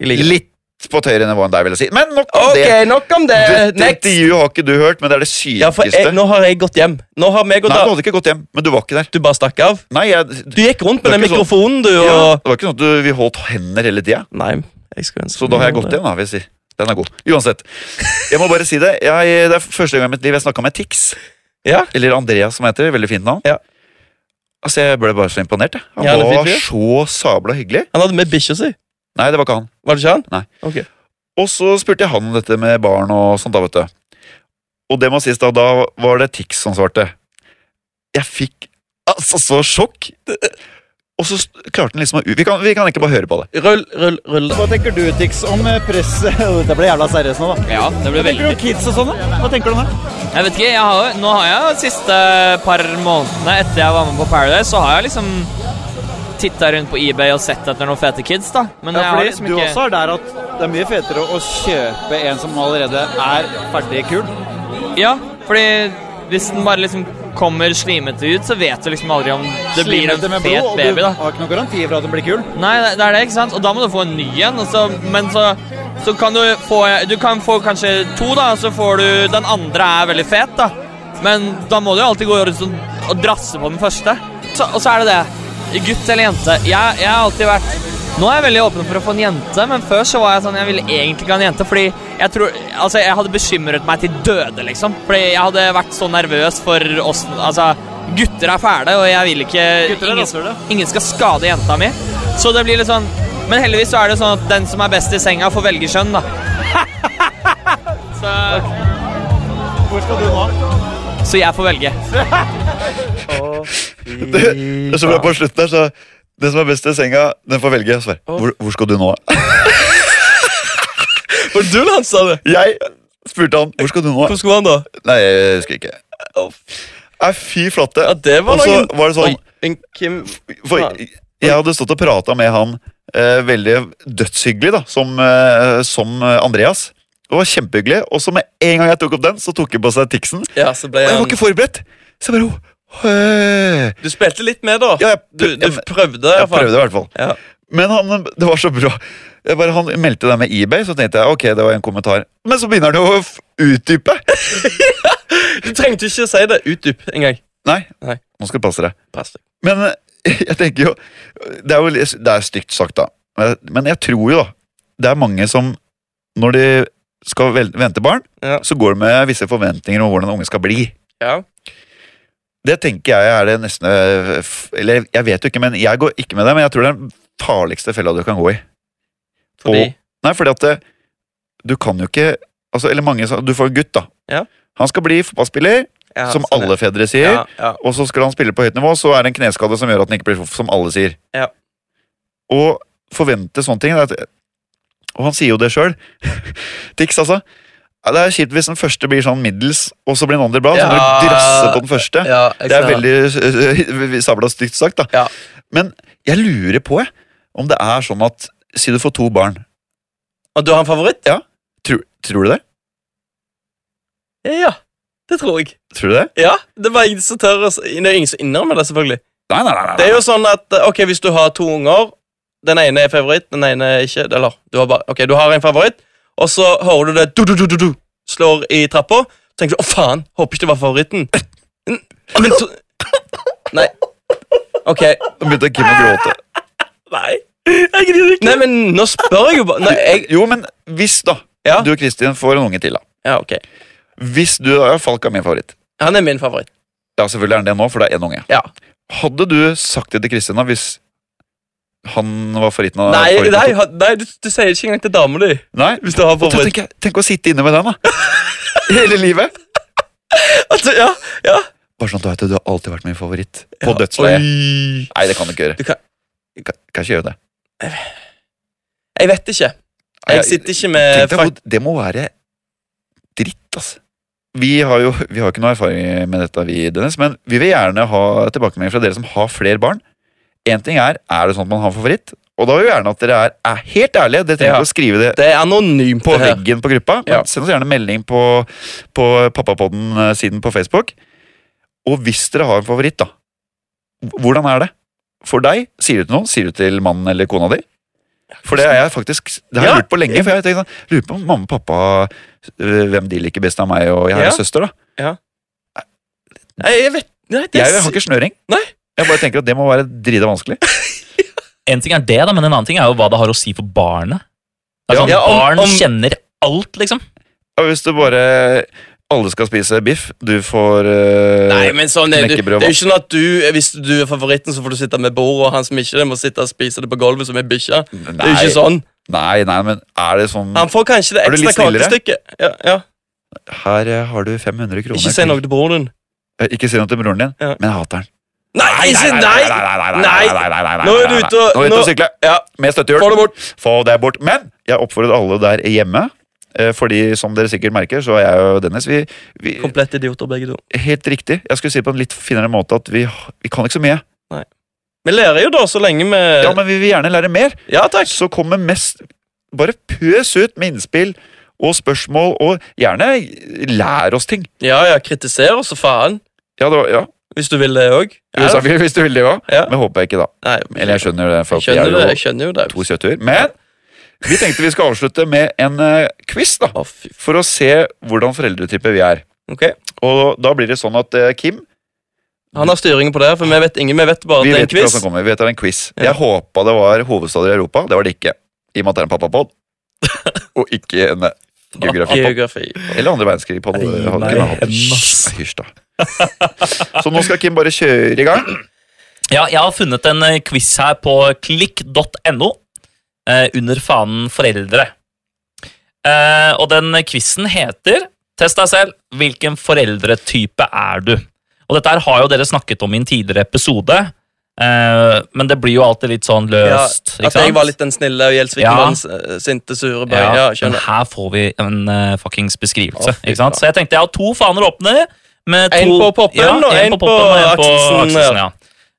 [SPEAKER 1] litt på et høyere nivå enn deg, vil jeg si. Men nok om
[SPEAKER 2] Ok,
[SPEAKER 1] det.
[SPEAKER 2] nok om det.
[SPEAKER 1] Dette
[SPEAKER 2] Next.
[SPEAKER 1] intervjuet har ikke du hørt, men det er det
[SPEAKER 2] Ja, for
[SPEAKER 1] sykeste.
[SPEAKER 2] jeg, Nå har jeg gått hjem. Nå har meg gått
[SPEAKER 1] Nei, du
[SPEAKER 2] av.
[SPEAKER 1] hadde ikke gått hjem, men du var ikke der.
[SPEAKER 2] Du bare stakk av.
[SPEAKER 1] Nei, jeg,
[SPEAKER 2] Du gikk rundt
[SPEAKER 1] Det
[SPEAKER 2] med
[SPEAKER 1] er
[SPEAKER 2] den
[SPEAKER 1] ikke sånn.
[SPEAKER 2] mikrofonen, du,
[SPEAKER 1] ja,
[SPEAKER 2] og
[SPEAKER 1] det var ikke sånn at du, vi holdt hender hele tida,
[SPEAKER 2] Nei, jeg skulle ønske eh,
[SPEAKER 1] så da har jeg gått hjem, da, vil jeg si. Den er god. Uansett. Jeg må bare si det. Jeg, det er første gang i mitt liv jeg snakka med Tix.
[SPEAKER 2] Ja.
[SPEAKER 1] Eller Andreas, som heter. Veldig fint navn.
[SPEAKER 2] Ja.
[SPEAKER 1] Altså, Jeg ble bare så imponert. jeg. Han
[SPEAKER 2] Ja, det er
[SPEAKER 1] var
[SPEAKER 2] fint, ja.
[SPEAKER 1] så sabla hyggelig.
[SPEAKER 2] Han hadde med bikkja si.
[SPEAKER 1] Nei, det var ikke han.
[SPEAKER 2] Var det ikke han?
[SPEAKER 1] Nei.
[SPEAKER 2] Ok.
[SPEAKER 1] Og så spurte jeg han om dette med barn og sånt, da, vet du. Og det må sies, da, da var det Tix som svarte. Jeg fikk altså så sjokk. Og så klarte han liksom å Vi kan, vi kan egentlig bare høre på det.
[SPEAKER 2] Rull, rull, rull.
[SPEAKER 4] Hva tenker du, Tix, om eh, presset Dette ble jævla seriøst nå, da.
[SPEAKER 9] Ja, det ble
[SPEAKER 4] Hva tenker du
[SPEAKER 9] veldig
[SPEAKER 4] om kids og sånn, da? Hva tenker du om det?
[SPEAKER 9] Jeg vet ikke, jeg har, jo- nå har jeg de siste par månedene etter jeg var med på Paradise, så har jeg liksom titta rundt på eBay og sett etter noen fete kids, da. Men jeg
[SPEAKER 4] Ja,
[SPEAKER 9] har
[SPEAKER 4] fordi
[SPEAKER 9] liksom
[SPEAKER 4] du
[SPEAKER 9] ikke
[SPEAKER 4] også har der at det er mye fetere å kjøpe en som allerede er ferdig kul.
[SPEAKER 9] Ja, fordi hvis den bare liksom kommer slimete ut, så vet du liksom aldri om det blir en
[SPEAKER 4] Slimete med
[SPEAKER 9] fet
[SPEAKER 4] blod, og
[SPEAKER 9] baby, da.
[SPEAKER 4] Du har ikke noen garanti for at den blir kul.
[SPEAKER 9] Nei, det det er det, ikke sant? Og da må du få en ny en, og så, men så Så kan du få Du kan få kanskje to, da, så får du Den andre er veldig fet, da. Men da må du jo alltid gå rundt og, liksom, og drasse på den første. Så, og så er det det. Gutt eller jente. Jeg, jeg har alltid vært Nå er jeg veldig åpen for å få en jente, men før så var jeg sånn Jeg ville egentlig ikke ha en jente, fordi jeg tror Altså, jeg hadde bekymret meg til døde, liksom. Fordi jeg hadde vært så nervøs for oss Altså, gutter er fæle, og jeg vil ikke
[SPEAKER 5] Gutter er
[SPEAKER 9] ingen-
[SPEAKER 5] rasshøl, ja.
[SPEAKER 9] Ingen skal skade jenta mi. Så det blir litt sånn Men heldigvis så er det sånn at den som er best i senga, får velge kjønn, da. så,
[SPEAKER 4] Hvor skal du nå?
[SPEAKER 9] så jeg får velge.
[SPEAKER 1] Det, det er så bra på slutten der, så Den som er best i senga, den får velge. Så bare, hvor, hvor skal du nå?
[SPEAKER 2] Var det du han sa det?
[SPEAKER 1] Jeg spurte han hvor skal du nå.
[SPEAKER 2] Hvor skulle han da?
[SPEAKER 1] Nei, jeg husker ikke. Nei, fy flate.
[SPEAKER 2] Ja, det var
[SPEAKER 1] Og så
[SPEAKER 2] noen-
[SPEAKER 1] var det sånn
[SPEAKER 2] Oi, en Kim...
[SPEAKER 1] For
[SPEAKER 2] Ja.
[SPEAKER 1] jeg- jeg hadde stått og prata med han eh, veldig dødshyggelig, da, som, eh, som eh, Andreas. Det var kjempehyggelig, og så med en gang jeg tok opp den, så tok han på seg Tixen. Og
[SPEAKER 2] Ja, så ble
[SPEAKER 1] jeg var
[SPEAKER 2] han...
[SPEAKER 1] ikke forberedt! Så jeg bare «Åh, øh».
[SPEAKER 2] Du spilte litt med, da.
[SPEAKER 1] Ja, jeg,
[SPEAKER 2] Du, du
[SPEAKER 1] jeg,
[SPEAKER 2] prøvde, i
[SPEAKER 1] jeg
[SPEAKER 2] hvert fall.
[SPEAKER 1] prøvde i hvert fall.
[SPEAKER 2] Ja.
[SPEAKER 1] Men han, det var så bra. Jeg bare, han meldte det med eBay, så tenkte jeg ok, det var en kommentar. Men så begynner han jo å f- utdype.
[SPEAKER 2] Du trengte ikke si det. Utdyp en gang.
[SPEAKER 1] Nei,
[SPEAKER 2] Nei.
[SPEAKER 1] nå skal du passe deg.
[SPEAKER 2] Pass deg.
[SPEAKER 1] Men eh, jeg tenker jo Det er jo litt- det er stygt sagt, da. Men- Men jeg tror jo, da Det er mange som når de skal vel- vente barn,
[SPEAKER 2] Ja.
[SPEAKER 1] så går de med visse forventninger om hvordan ungen skal bli.
[SPEAKER 2] Ja.
[SPEAKER 1] Det tenker jeg er det nesten eh, f- Eller jeg vet jo ikke, men jeg går ikke med det. Men jeg tror det er den farligste fella du kan gå i.
[SPEAKER 2] Fordi
[SPEAKER 1] Og- Nei, fordi at eh, du kan jo ikke altså, Eller mange sa- Du får en gutt, da.
[SPEAKER 2] Ja.
[SPEAKER 1] Han skal bli fotballspiller,
[SPEAKER 2] ja,
[SPEAKER 1] som
[SPEAKER 2] sånn, ja.
[SPEAKER 1] alle fedre sier.
[SPEAKER 2] Ja, ja.
[SPEAKER 1] Og så skal han spille på høyt nivå, så er det en kneskade som gjør at han ikke blir proff, som alle sier.
[SPEAKER 2] Ja.
[SPEAKER 1] Og forvente sånne ting det er at, Og han sier jo det sjøl. Tix, altså. Ja, Det er kjipt hvis den første blir sånn middels, og så blir den andre bra. Så må
[SPEAKER 2] Ja.
[SPEAKER 1] du drasse på den første.
[SPEAKER 2] ja jeg
[SPEAKER 1] Det er
[SPEAKER 2] ser
[SPEAKER 1] veldig øh, øh, sabla stygt sagt, da.
[SPEAKER 2] Ja.
[SPEAKER 1] Men jeg lurer på, jeg, om det er sånn at Si du får to barn.
[SPEAKER 2] Og du har en favoritt?
[SPEAKER 1] Tror, tror du det?
[SPEAKER 2] Ja, det tror jeg.
[SPEAKER 1] Tror du det?
[SPEAKER 2] Ja, Det var ingen som tør å s- Det er ingen som innrømmer det, selvfølgelig.
[SPEAKER 1] Nei, nei, nei. nei.
[SPEAKER 2] Det er jo sånn at eh, ok, hvis du har to unger Den ene er favoritt, den ene er ikke Eller du har, bare, ok, du har en favoritt, og så hører du det du, du, du, du, du, slår i trappa. Så tenker du 'Å, faen! Håper ikke det var favoritten'. Mm, Men to Nei. Ok.
[SPEAKER 1] Nå begynte Kim å gråte.
[SPEAKER 2] Nei. Jeg gidder ikke. Nei, men nå spør jeg jo bare. Nei, jeg
[SPEAKER 1] Jo, men hvis, da.
[SPEAKER 2] Ja.
[SPEAKER 1] Du og Kristin får en unge til, da.
[SPEAKER 2] Ja, ok.
[SPEAKER 1] Hvis du ja, Falk er min favoritt.
[SPEAKER 2] Han er min favoritt.
[SPEAKER 1] Ja, selvfølgelig er han det nå, for det er én unge.
[SPEAKER 2] Ja.
[SPEAKER 1] Hadde du sagt det til Kristin da, hvis han var favoritten av
[SPEAKER 2] Nei,
[SPEAKER 1] favoritten av
[SPEAKER 2] nei,
[SPEAKER 1] to?
[SPEAKER 2] ha- nei du, du sier det ikke engang til dama di.
[SPEAKER 1] nei?
[SPEAKER 2] Hvis du har
[SPEAKER 1] Og da
[SPEAKER 2] favoritt.
[SPEAKER 1] tenker jeg, tenk å sitte inne med den, da. Hele livet.
[SPEAKER 2] Altså, ja, ja.
[SPEAKER 1] Bare sånn, du vet det, du har alltid vært min favoritt. På dødsleiet.
[SPEAKER 2] Oi.
[SPEAKER 1] Nei, det kan du ikke gjøre.
[SPEAKER 2] Du kan-
[SPEAKER 1] kan, kan ikke gjøre det.
[SPEAKER 2] Jeg vet ikke. Jeg sitter ikke med
[SPEAKER 1] Tenk deg hvor- Det må være dritt, altså. Vi har jo vi har jo ikke noe erfaring med dette, vi, Dennis, men vi vil gjerne ha tilbakemeldinger fra dere som har flere barn. Én ting er er det sånn at man har en favoritt, og da vil vi gjerne at dere er, er helt ærlige. Dere trenger
[SPEAKER 2] Ja.
[SPEAKER 1] ikke å skrive det
[SPEAKER 2] Det er anonymt.
[SPEAKER 1] på
[SPEAKER 2] det her.
[SPEAKER 1] veggen på gruppa. Men
[SPEAKER 2] Ja.
[SPEAKER 1] Send oss gjerne melding på, på Pappapodden-siden på Facebook. Og hvis dere har en favoritt, da, hvordan er det? For deg, sier du til noen? Sier du til mannen eller kona di? For det er jeg faktisk Det har jeg
[SPEAKER 2] Ja.
[SPEAKER 1] lurt på lenge. For jeg har tenkt sånn, lurer på om mamma og pappa øh, hvem de liker best av meg, og jeg har
[SPEAKER 2] Ja.
[SPEAKER 1] en søster, da.
[SPEAKER 2] Nei, jeg vet Nei, det
[SPEAKER 1] Jeg
[SPEAKER 2] er
[SPEAKER 1] har
[SPEAKER 2] s-
[SPEAKER 1] ikke snøring.
[SPEAKER 2] Nei.
[SPEAKER 1] Jeg bare tenker at det må være drita vanskelig.
[SPEAKER 3] En ting er det, da, men en annen ting er jo hva det har å si for barnet. Det er
[SPEAKER 1] Ja.
[SPEAKER 3] sånn,
[SPEAKER 2] Ja, om-
[SPEAKER 3] barn
[SPEAKER 2] om-
[SPEAKER 3] kjenner alt, liksom.
[SPEAKER 1] Og hvis du bare Alle skal spise biff, du får øh,
[SPEAKER 2] Nei, men sånn er du, Det
[SPEAKER 1] knekkebrød,
[SPEAKER 2] er jo ikke sånn at du eh, Hvis du er favoritten, så får du sitte med bordet, og han som ikke er det, må sitte og spise det på gulvet som ei bikkje. Det er jo ikke sånn.
[SPEAKER 1] Nei, nei, men er det sånn
[SPEAKER 2] Han får kanskje det
[SPEAKER 1] Er du
[SPEAKER 2] ekstra
[SPEAKER 1] litt snillere?
[SPEAKER 2] kakestykket. Ja, ja.
[SPEAKER 1] Her eh, har du 500 kroner.
[SPEAKER 2] Ikke si noe til broren din.
[SPEAKER 1] Eh, Ikke si noe til broren din,
[SPEAKER 2] Ja.
[SPEAKER 1] men jeg hater den.
[SPEAKER 2] Nei, ikke nei! Nei. Nå er du ute og-
[SPEAKER 1] Nå er du ute og
[SPEAKER 2] nå-
[SPEAKER 1] sykle
[SPEAKER 2] Ja,
[SPEAKER 1] med støttehjul.
[SPEAKER 2] Få det bort.
[SPEAKER 1] Få det bort. Men jeg oppfordrer alle der hjemme, eh, fordi som dere sikkert merker, så er jeg og Dennis vi, vi,
[SPEAKER 2] Komplette idioter, begge to.
[SPEAKER 1] Helt riktig. Jeg skulle si på en litt finere måte at vi, vi kan ikke så mye.
[SPEAKER 2] Vi lærer jo, da, så lenge vi
[SPEAKER 1] Ja, men vi vil gjerne lære mer.
[SPEAKER 2] Ja, Eh. takk.
[SPEAKER 1] Så kom med mest Bare pøs ut med innspill og spørsmål, og gjerne lær oss ting.
[SPEAKER 2] Ja, ja, kritiser oss, så faen.
[SPEAKER 1] Ja, det var, ja.
[SPEAKER 2] Hvis du vil det òg.
[SPEAKER 1] Hvis du vil- hvis du vil det òg.
[SPEAKER 2] Ja.
[SPEAKER 1] Men håper jeg ikke, da.
[SPEAKER 2] Nei,
[SPEAKER 1] Eller jeg skjønner det, for
[SPEAKER 2] jeg
[SPEAKER 1] vi er
[SPEAKER 2] skjønner det.
[SPEAKER 1] jo
[SPEAKER 2] Jeg skjønner jo det.
[SPEAKER 1] to søthuer. Men Vi tenkte vi skal avslutte med en eh, quiz, da.
[SPEAKER 2] Å, fy
[SPEAKER 1] For å se hvordan foreldretype vi er.
[SPEAKER 2] Ok,
[SPEAKER 1] Og da blir det sånn at eh, Kim
[SPEAKER 2] Han har styringen på det, for vi vet ingen, vi vet bare at
[SPEAKER 1] Vi
[SPEAKER 2] det er
[SPEAKER 1] vet
[SPEAKER 2] en
[SPEAKER 1] ikke hva
[SPEAKER 2] quiz.
[SPEAKER 1] som kommer. Vi vet det er en quiz.
[SPEAKER 2] Ja.
[SPEAKER 1] Jeg håpa det var hovedstader i Europa. Det var det ikke. I og med at det er en pappapod. Og ikke en eh, geografi.
[SPEAKER 2] Geografi.
[SPEAKER 1] Eller andre verdenskrig-pod.
[SPEAKER 3] Nei,
[SPEAKER 1] Hadde
[SPEAKER 3] nei,
[SPEAKER 1] Kim hatt.
[SPEAKER 3] en masse.
[SPEAKER 1] Hysj, hysj da. Så nå skal Kim bare kjøre i gang.
[SPEAKER 3] Ja, jeg har funnet en eh, quiz her på klikk.no eh, under fanen foreldre. Eh, og den quizen heter Test deg selv. Hvilken foreldretype er du? Og dette her har jo dere snakket om i en tidligere episode, eh, men det blir jo alltid litt sånn
[SPEAKER 2] Ja,
[SPEAKER 3] løst. ikke
[SPEAKER 2] at jeg
[SPEAKER 3] sant?
[SPEAKER 2] var litt den snille og Gjelsviken
[SPEAKER 3] Ja.
[SPEAKER 2] var den s- eh, sinte, sure bøy.
[SPEAKER 3] Ja,
[SPEAKER 2] Ja,
[SPEAKER 3] men
[SPEAKER 2] skjønner.
[SPEAKER 3] her får vi en eh, fuckings beskrivelse.
[SPEAKER 2] Å, fy
[SPEAKER 3] ikke sant? Så jeg tenkte jeg har to faner åpne. Med
[SPEAKER 2] En
[SPEAKER 3] to,
[SPEAKER 2] på poppen,
[SPEAKER 3] ja,
[SPEAKER 2] og en
[SPEAKER 3] på, poppen, og en på
[SPEAKER 2] aksen,
[SPEAKER 3] aksen. ja.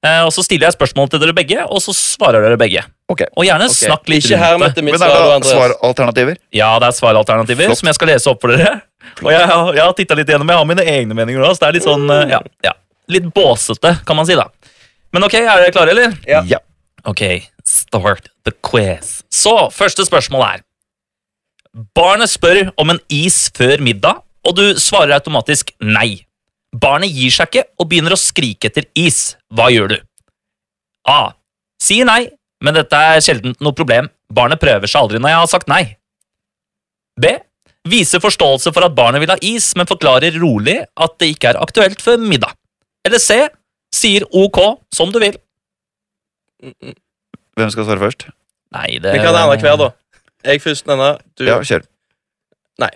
[SPEAKER 3] Eh, og så stiller jeg spørsmål til dere begge, og så svarer dere begge.
[SPEAKER 1] Ok.
[SPEAKER 3] Og gjerne
[SPEAKER 2] Ok,
[SPEAKER 3] snakk litt
[SPEAKER 2] Ikke her
[SPEAKER 3] rundt
[SPEAKER 2] med
[SPEAKER 3] det.
[SPEAKER 2] mitt
[SPEAKER 1] Men
[SPEAKER 2] svar,
[SPEAKER 1] er det
[SPEAKER 2] Andreas.
[SPEAKER 1] svaralternativer?
[SPEAKER 3] Ja, det er svaralternativer
[SPEAKER 1] Flott.
[SPEAKER 3] som jeg skal lese opp for dere. Og jeg, har- jeg har tittet litt gjennom, jeg har mine egne meninger nå, så det er litt sånn eh, ja, ja, Litt båsete, kan man si, da. Men ok, er dere klare, eller?
[SPEAKER 2] Ja.
[SPEAKER 1] Ja.
[SPEAKER 3] Ok, start the quiz. Så, første spørsmål er Barnet spør om en is før middag, og du svarer automatisk nei. Barnet gir seg ikke og begynner å skrike etter is. Hva gjør du? A. Sier nei, men dette er sjelden noe problem. Barnet prøver seg aldri når jeg har sagt nei. B. Viser forståelse for at barnet vil ha is, men forklarer rolig at det ikke er aktuelt før middag. Eller C. Sier ok, som du vil.
[SPEAKER 1] Hvem skal svare først?
[SPEAKER 3] Nei, det
[SPEAKER 2] Vi kan ha annenhver, da. Jeg først denne. Du.
[SPEAKER 1] Ja, kjør.
[SPEAKER 2] Nei.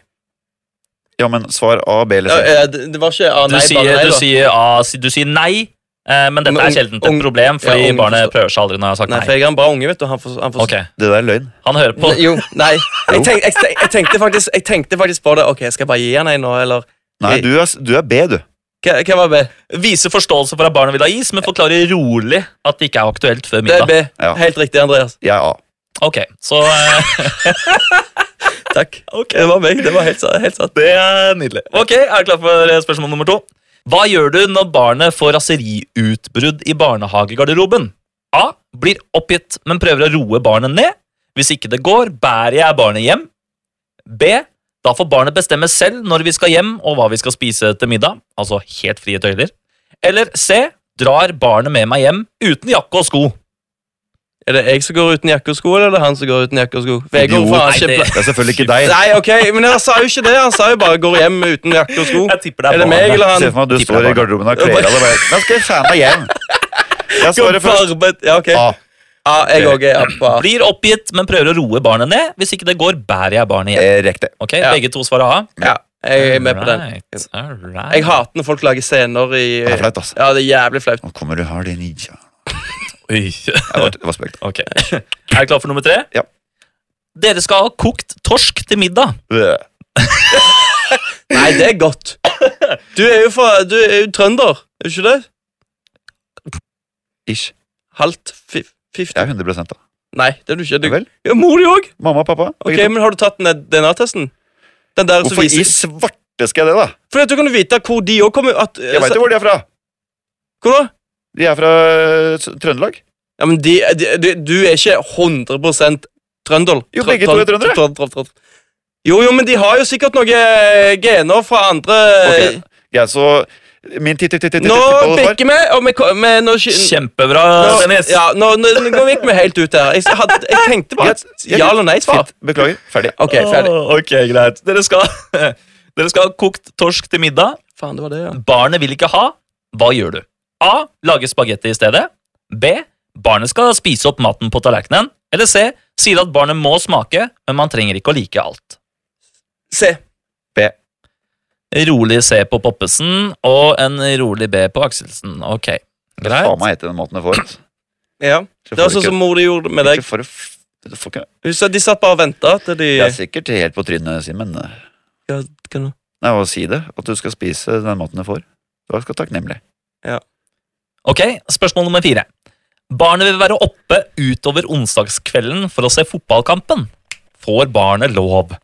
[SPEAKER 1] Ja, men svar A, B eller
[SPEAKER 2] Ja,
[SPEAKER 1] C.
[SPEAKER 2] eh, det det var ikke ah,
[SPEAKER 3] Du
[SPEAKER 2] nei,
[SPEAKER 3] sier,
[SPEAKER 2] bare nei,
[SPEAKER 3] du,
[SPEAKER 2] da.
[SPEAKER 3] sier, ah, si- du sier nei, eh, men dette
[SPEAKER 2] Men
[SPEAKER 3] er
[SPEAKER 2] ung-
[SPEAKER 3] sjelden et
[SPEAKER 2] ung-
[SPEAKER 3] problem, fordi
[SPEAKER 2] ja, ung
[SPEAKER 3] barnet
[SPEAKER 2] forstår.
[SPEAKER 3] prøver seg aldri når jeg har sagt
[SPEAKER 2] Nei,
[SPEAKER 3] nei.
[SPEAKER 2] for jeg er en bra unge, vet du. Han får, han får,
[SPEAKER 3] Ok,
[SPEAKER 1] Det der er løgn.
[SPEAKER 3] Han hører på.
[SPEAKER 2] Nei, Jo, nei. Jeg, tenk, jeg, tenk, jeg, tenkte faktisk, jeg tenkte faktisk på det. Ok, skal jeg bare gi han en nå, eller Eh,
[SPEAKER 1] Nei, du er, du er B, du.
[SPEAKER 2] Hva hva var B?
[SPEAKER 3] Viser forståelse for at barnet vil ha is, men forklarer rolig at det ikke er aktuelt før
[SPEAKER 2] Det er
[SPEAKER 3] middag.
[SPEAKER 2] B.
[SPEAKER 1] Ja.
[SPEAKER 2] Helt riktig, Andreas.
[SPEAKER 1] Jeg er A.
[SPEAKER 3] Ok, så eh,
[SPEAKER 2] Takk. Det var meg. Det var helt, sa- helt sant.
[SPEAKER 3] Det er nydelig. Ok, Er du klar for eh, spørsmål nummer to? Hva gjør du når barnet får raseriutbrudd i barnehagegarderoben? A. Blir oppgitt, men prøver å roe barnet ned. Hvis ikke det går, bærer jeg barnet hjem. B. Da får barnet bestemme selv når vi skal hjem og hva vi skal spise til middag. Altså helt frie tøyler. Eller C. Drar barnet med meg hjem uten jakke og sko.
[SPEAKER 2] Er det jeg som går uten jakke og sko, eller er det han som går uten jakke og sko? For jeg går
[SPEAKER 1] Idiot.
[SPEAKER 2] faen
[SPEAKER 3] Nei,
[SPEAKER 2] ikke
[SPEAKER 3] det-
[SPEAKER 2] pla-
[SPEAKER 1] Det er selvfølgelig ikke deg.
[SPEAKER 2] Nei, ok, men han sa jo ikke det. Han sa jo bare 'går hjem uten jakke og sko'.
[SPEAKER 3] Jeg tipper det
[SPEAKER 2] Er
[SPEAKER 3] er
[SPEAKER 2] det meg,
[SPEAKER 3] barnet.
[SPEAKER 2] eller
[SPEAKER 1] Se
[SPEAKER 2] han?
[SPEAKER 1] for meg at du står i garderoben og kler av deg. og bare, Nå skal jeg faen meg hjem. Jeg svarer først
[SPEAKER 2] Arbeid. Ja, ok.
[SPEAKER 1] A.
[SPEAKER 2] Ja, jeg òg er appa.
[SPEAKER 3] Blir oppgitt, men prøver å roe barnet ned. Hvis ikke det går, bærer jeg barnet hjem.
[SPEAKER 1] Eh, Riktig.
[SPEAKER 3] Ok,
[SPEAKER 2] Ja.
[SPEAKER 3] Begge to svarer A.
[SPEAKER 2] Ja, jeg er med på den.
[SPEAKER 3] Alright, alright.
[SPEAKER 2] Jeg hater når folk lager scener i
[SPEAKER 1] Det er flaut, altså.
[SPEAKER 2] Ja, det er jævlig flaut.
[SPEAKER 1] Nå kommer du her, din ninja.
[SPEAKER 3] Oi.
[SPEAKER 1] Det var, det var spøkt.
[SPEAKER 3] Ok. Er du klar for nummer tre?
[SPEAKER 1] Ja.
[SPEAKER 3] Dere skal ha kokt torsk til middag.
[SPEAKER 1] Øh.
[SPEAKER 2] Nei, det er godt. Du er jo fra Du er jo trønder, er du ikke det?
[SPEAKER 1] Ish.
[SPEAKER 2] Halvt fif-
[SPEAKER 1] Jeg er
[SPEAKER 2] fifty?
[SPEAKER 1] 100 da.
[SPEAKER 2] Nei, det er du ikke. Du,
[SPEAKER 1] Ja vel.
[SPEAKER 2] ja, mor di òg!
[SPEAKER 1] Mamma og pappa.
[SPEAKER 2] Ok,
[SPEAKER 1] begge to.
[SPEAKER 2] men har du tatt den der DNA-testen? Den der som
[SPEAKER 1] Hvorfor i
[SPEAKER 2] viser
[SPEAKER 1] svarte skal jeg det, da?
[SPEAKER 2] Fordi at du kan jo vite hvor de òg kommer at,
[SPEAKER 1] Jeg veit jo hvor de er fra.
[SPEAKER 2] Hvor da?
[SPEAKER 1] De er fra eh, S- Trøndelag.
[SPEAKER 2] Ja, men de, de, de, Du er ikke 100 trønder.
[SPEAKER 1] Jo, begge to er trøndere.
[SPEAKER 2] Trønd- trønd- trønd. Jo, jo, men de har jo sikkert noen gener fra andre eh,
[SPEAKER 1] Ok, Jeg så Min titt titt titt titt
[SPEAKER 2] Nå
[SPEAKER 1] titt
[SPEAKER 2] bikker vi, og vi, ko- vi nå, sky-
[SPEAKER 3] Kjempebra,
[SPEAKER 2] Nå-
[SPEAKER 3] Dennis.
[SPEAKER 2] Mm. Ja, nå, nå, nå går vi ikke med helt ut her. Jeg, s- hadde, jeg tenkte bare
[SPEAKER 1] Greit,
[SPEAKER 2] et
[SPEAKER 1] ja,
[SPEAKER 2] ja
[SPEAKER 1] greit.
[SPEAKER 2] eller nei-svar.
[SPEAKER 1] Fint. Beklager. Ferdig.
[SPEAKER 2] Ok, ferdig.
[SPEAKER 3] Åh, ok, greit. Dere skal, dere skal ha kokt torsk til middag.
[SPEAKER 2] Faen, det var det, ja.
[SPEAKER 3] Barnet vil ikke ha. Hva gjør du? A. Lage spagetti i stedet. B. Barnet skal spise opp maten på tallerkenen. Eller C. Sier at barnet må smake, men man trenger ikke å like alt.
[SPEAKER 2] Se.
[SPEAKER 3] Rolig C på Poppesen og en rolig B på Akselsen. Ok,
[SPEAKER 1] Faen
[SPEAKER 3] greit.
[SPEAKER 1] meg etter den maten jeg får. altså.
[SPEAKER 2] Ja.
[SPEAKER 1] Så
[SPEAKER 2] Det var
[SPEAKER 1] får du
[SPEAKER 2] sånn som
[SPEAKER 1] ikke-
[SPEAKER 2] mor di gjorde med deg.
[SPEAKER 1] ikke for å f- du får ikke-
[SPEAKER 2] Hun sa De satt bare og venta til de
[SPEAKER 1] Jeg er sikkert helt på trynet, Simen. eh,
[SPEAKER 2] Ja, hva nå?
[SPEAKER 1] Nei, hva si det? At du skal spise den maten du får. Du skal være takknemlig.
[SPEAKER 3] Ok, spørsmål nummer fire. Barnet vil være oppe utover onsdagskvelden for å se fotballkampen. Får barnet lov?